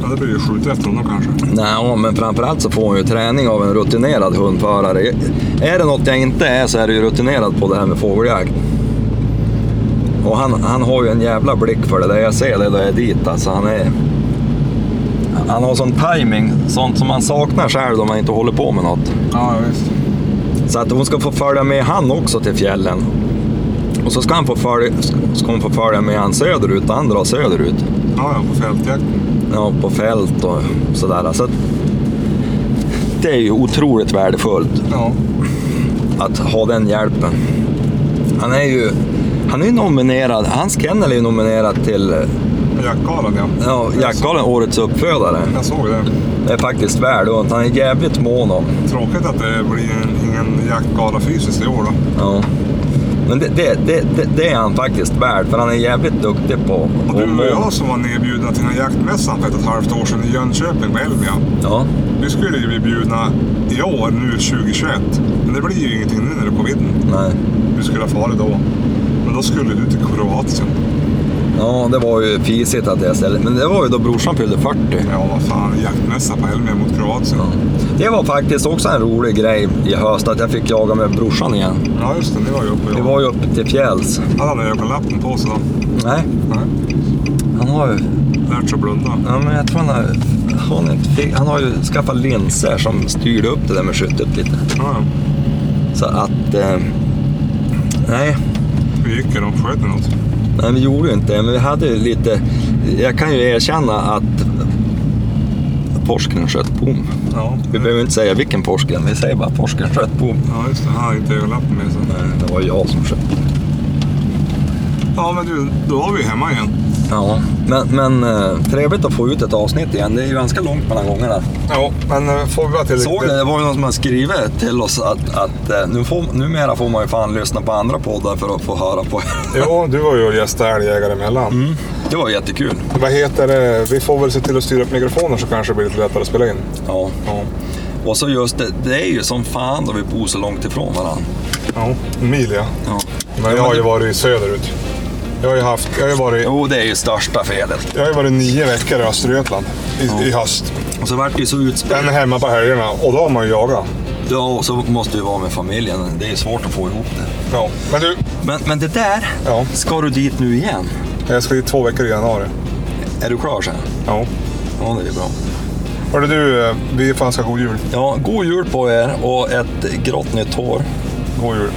S3: Ja, det blir ju skjuta efter honom kanske.
S1: Nej, men framförallt så får hon ju träning av en rutinerad hundförare. Är det något jag inte är så är det ju rutinerad på det här med fågeljakt. Och han, han har ju en jävla blick för det där. Jag ser det då jag är dit. Alltså, han, är, han har sån timing, sånt som man saknar själv om man inte håller på med något.
S3: Ja, visst.
S1: Så att hon ska få följa med han också till fjällen. Och så ska, han få följa, ska hon få följa med han söderut, han drar söderut.
S3: Ja, ja, på fältjakten.
S1: ja, på fält och sådär. Så att det är ju otroligt värdefullt
S3: Ja.
S1: att ha den hjälpen. Han är ju han är ju nominerad, hans kennel är ju nominerad till
S3: Med jaktgalan ja.
S1: ja, Jaktgalan Årets uppfödare.
S3: Jag såg det.
S1: Det är faktiskt värd och han är jävligt mån om.
S3: Tråkigt att det blir en- ingen jaktgala fysiskt i år då.
S1: Ja. Men det, det, det, det, det är han faktiskt värd, för han är jävligt duktig på
S3: Och du och
S1: mån-
S3: jag som var nedbjudna till den här jaktmässan för ett och ett halvt år sedan i Jönköping på Elmia.
S1: Ja,
S3: Vi skulle ju bli bjudna i år, nu 2021. Men det blir ju ingenting nu när det är coviden.
S1: nej.
S3: Vi skulle ha farit då. Men då skulle du till Kroatien.
S1: ja, det var ju fisigt att jag ställde, men det var ju då brorsan fyllde 40.
S3: Ja, vad fan. Jaktmässa på Elmia mot Kroatien.
S1: Ja. Det var faktiskt också en rolig grej i höst att jag fick jaga med brorsan igen.
S3: Ja, just det. Ni var ju uppe.
S1: Vi
S3: Ja.
S1: var ju uppe till fjälls.
S3: Han hade ögonlappen på sig då.
S1: Nej,
S3: Nej.
S1: han har ju...
S3: Lärt sig att blunda.
S1: Ja, men jag tror han har... Han, har inte, fick- han har ju skaffat linser som styrde upp det där med skyttet lite.
S3: Ja, ja.
S1: Så att... Eh, nej,
S3: Vi gick ju de sköt ni något.
S1: nej, vi gjorde ju inte det, men vi hade ju lite... Jag kan ju erkänna att torsken sköt bom.
S3: Ja.
S1: Vi behöver inte säga vilken torsken, vi säger bara torsken sköt bom.
S3: Ja, just det. Han hade inte ögonlappen med sig.
S1: Nej, det var jag som sköt.
S3: Ja, men du, då var vi hemma igen.
S1: Ja, men, men eh, trevligt att få ut ett avsnitt igen. Det är ju ganska långt mellan gångerna.
S3: Ja, men eh, får vi bara till
S1: Såg ni? Det var ju någon som har skrivit till oss att, att eh, nu får, numera får man ju fan lyssna på andra poddar för att få höra på.
S3: Jo, du var ju och gästade älgjägare emellan.
S1: Det var jättekul.
S3: Vad heter det? Vi får väl se till att styra upp mikrofonen så kanske det blir lite lättare att spela in.
S1: Ja.
S3: Ja.
S1: Och så just det, det är ju som fan då vi bor så långt ifrån varandra.
S3: Ja, en mil ja.
S1: Ja.
S3: Men jag har ju varit söderut. Jag har ju haft, jag har ju varit,
S1: Jo, det är ju största felet.
S3: jag har ju varit nio veckor i Östergötland i, i höst.
S1: Och så vart det ju så
S3: Den är
S1: utspritt.
S3: hemma på helgerna och då har man ju jagat.
S1: Ja, och så måste vi vara med familjen. Det är ju svårt att få ihop det.
S3: Ja. Men du,
S1: Men, men det där,
S3: Ja.
S1: ska du dit nu igen?
S3: jag ska dit två veckor i januari.
S1: Är du klar sen?
S3: Ja.
S1: Ja, det är bra.
S3: Hörru du, eh, vi fan ska ha god jul.
S1: Ja, god jul på er och ett grått nytt år.
S3: God jul.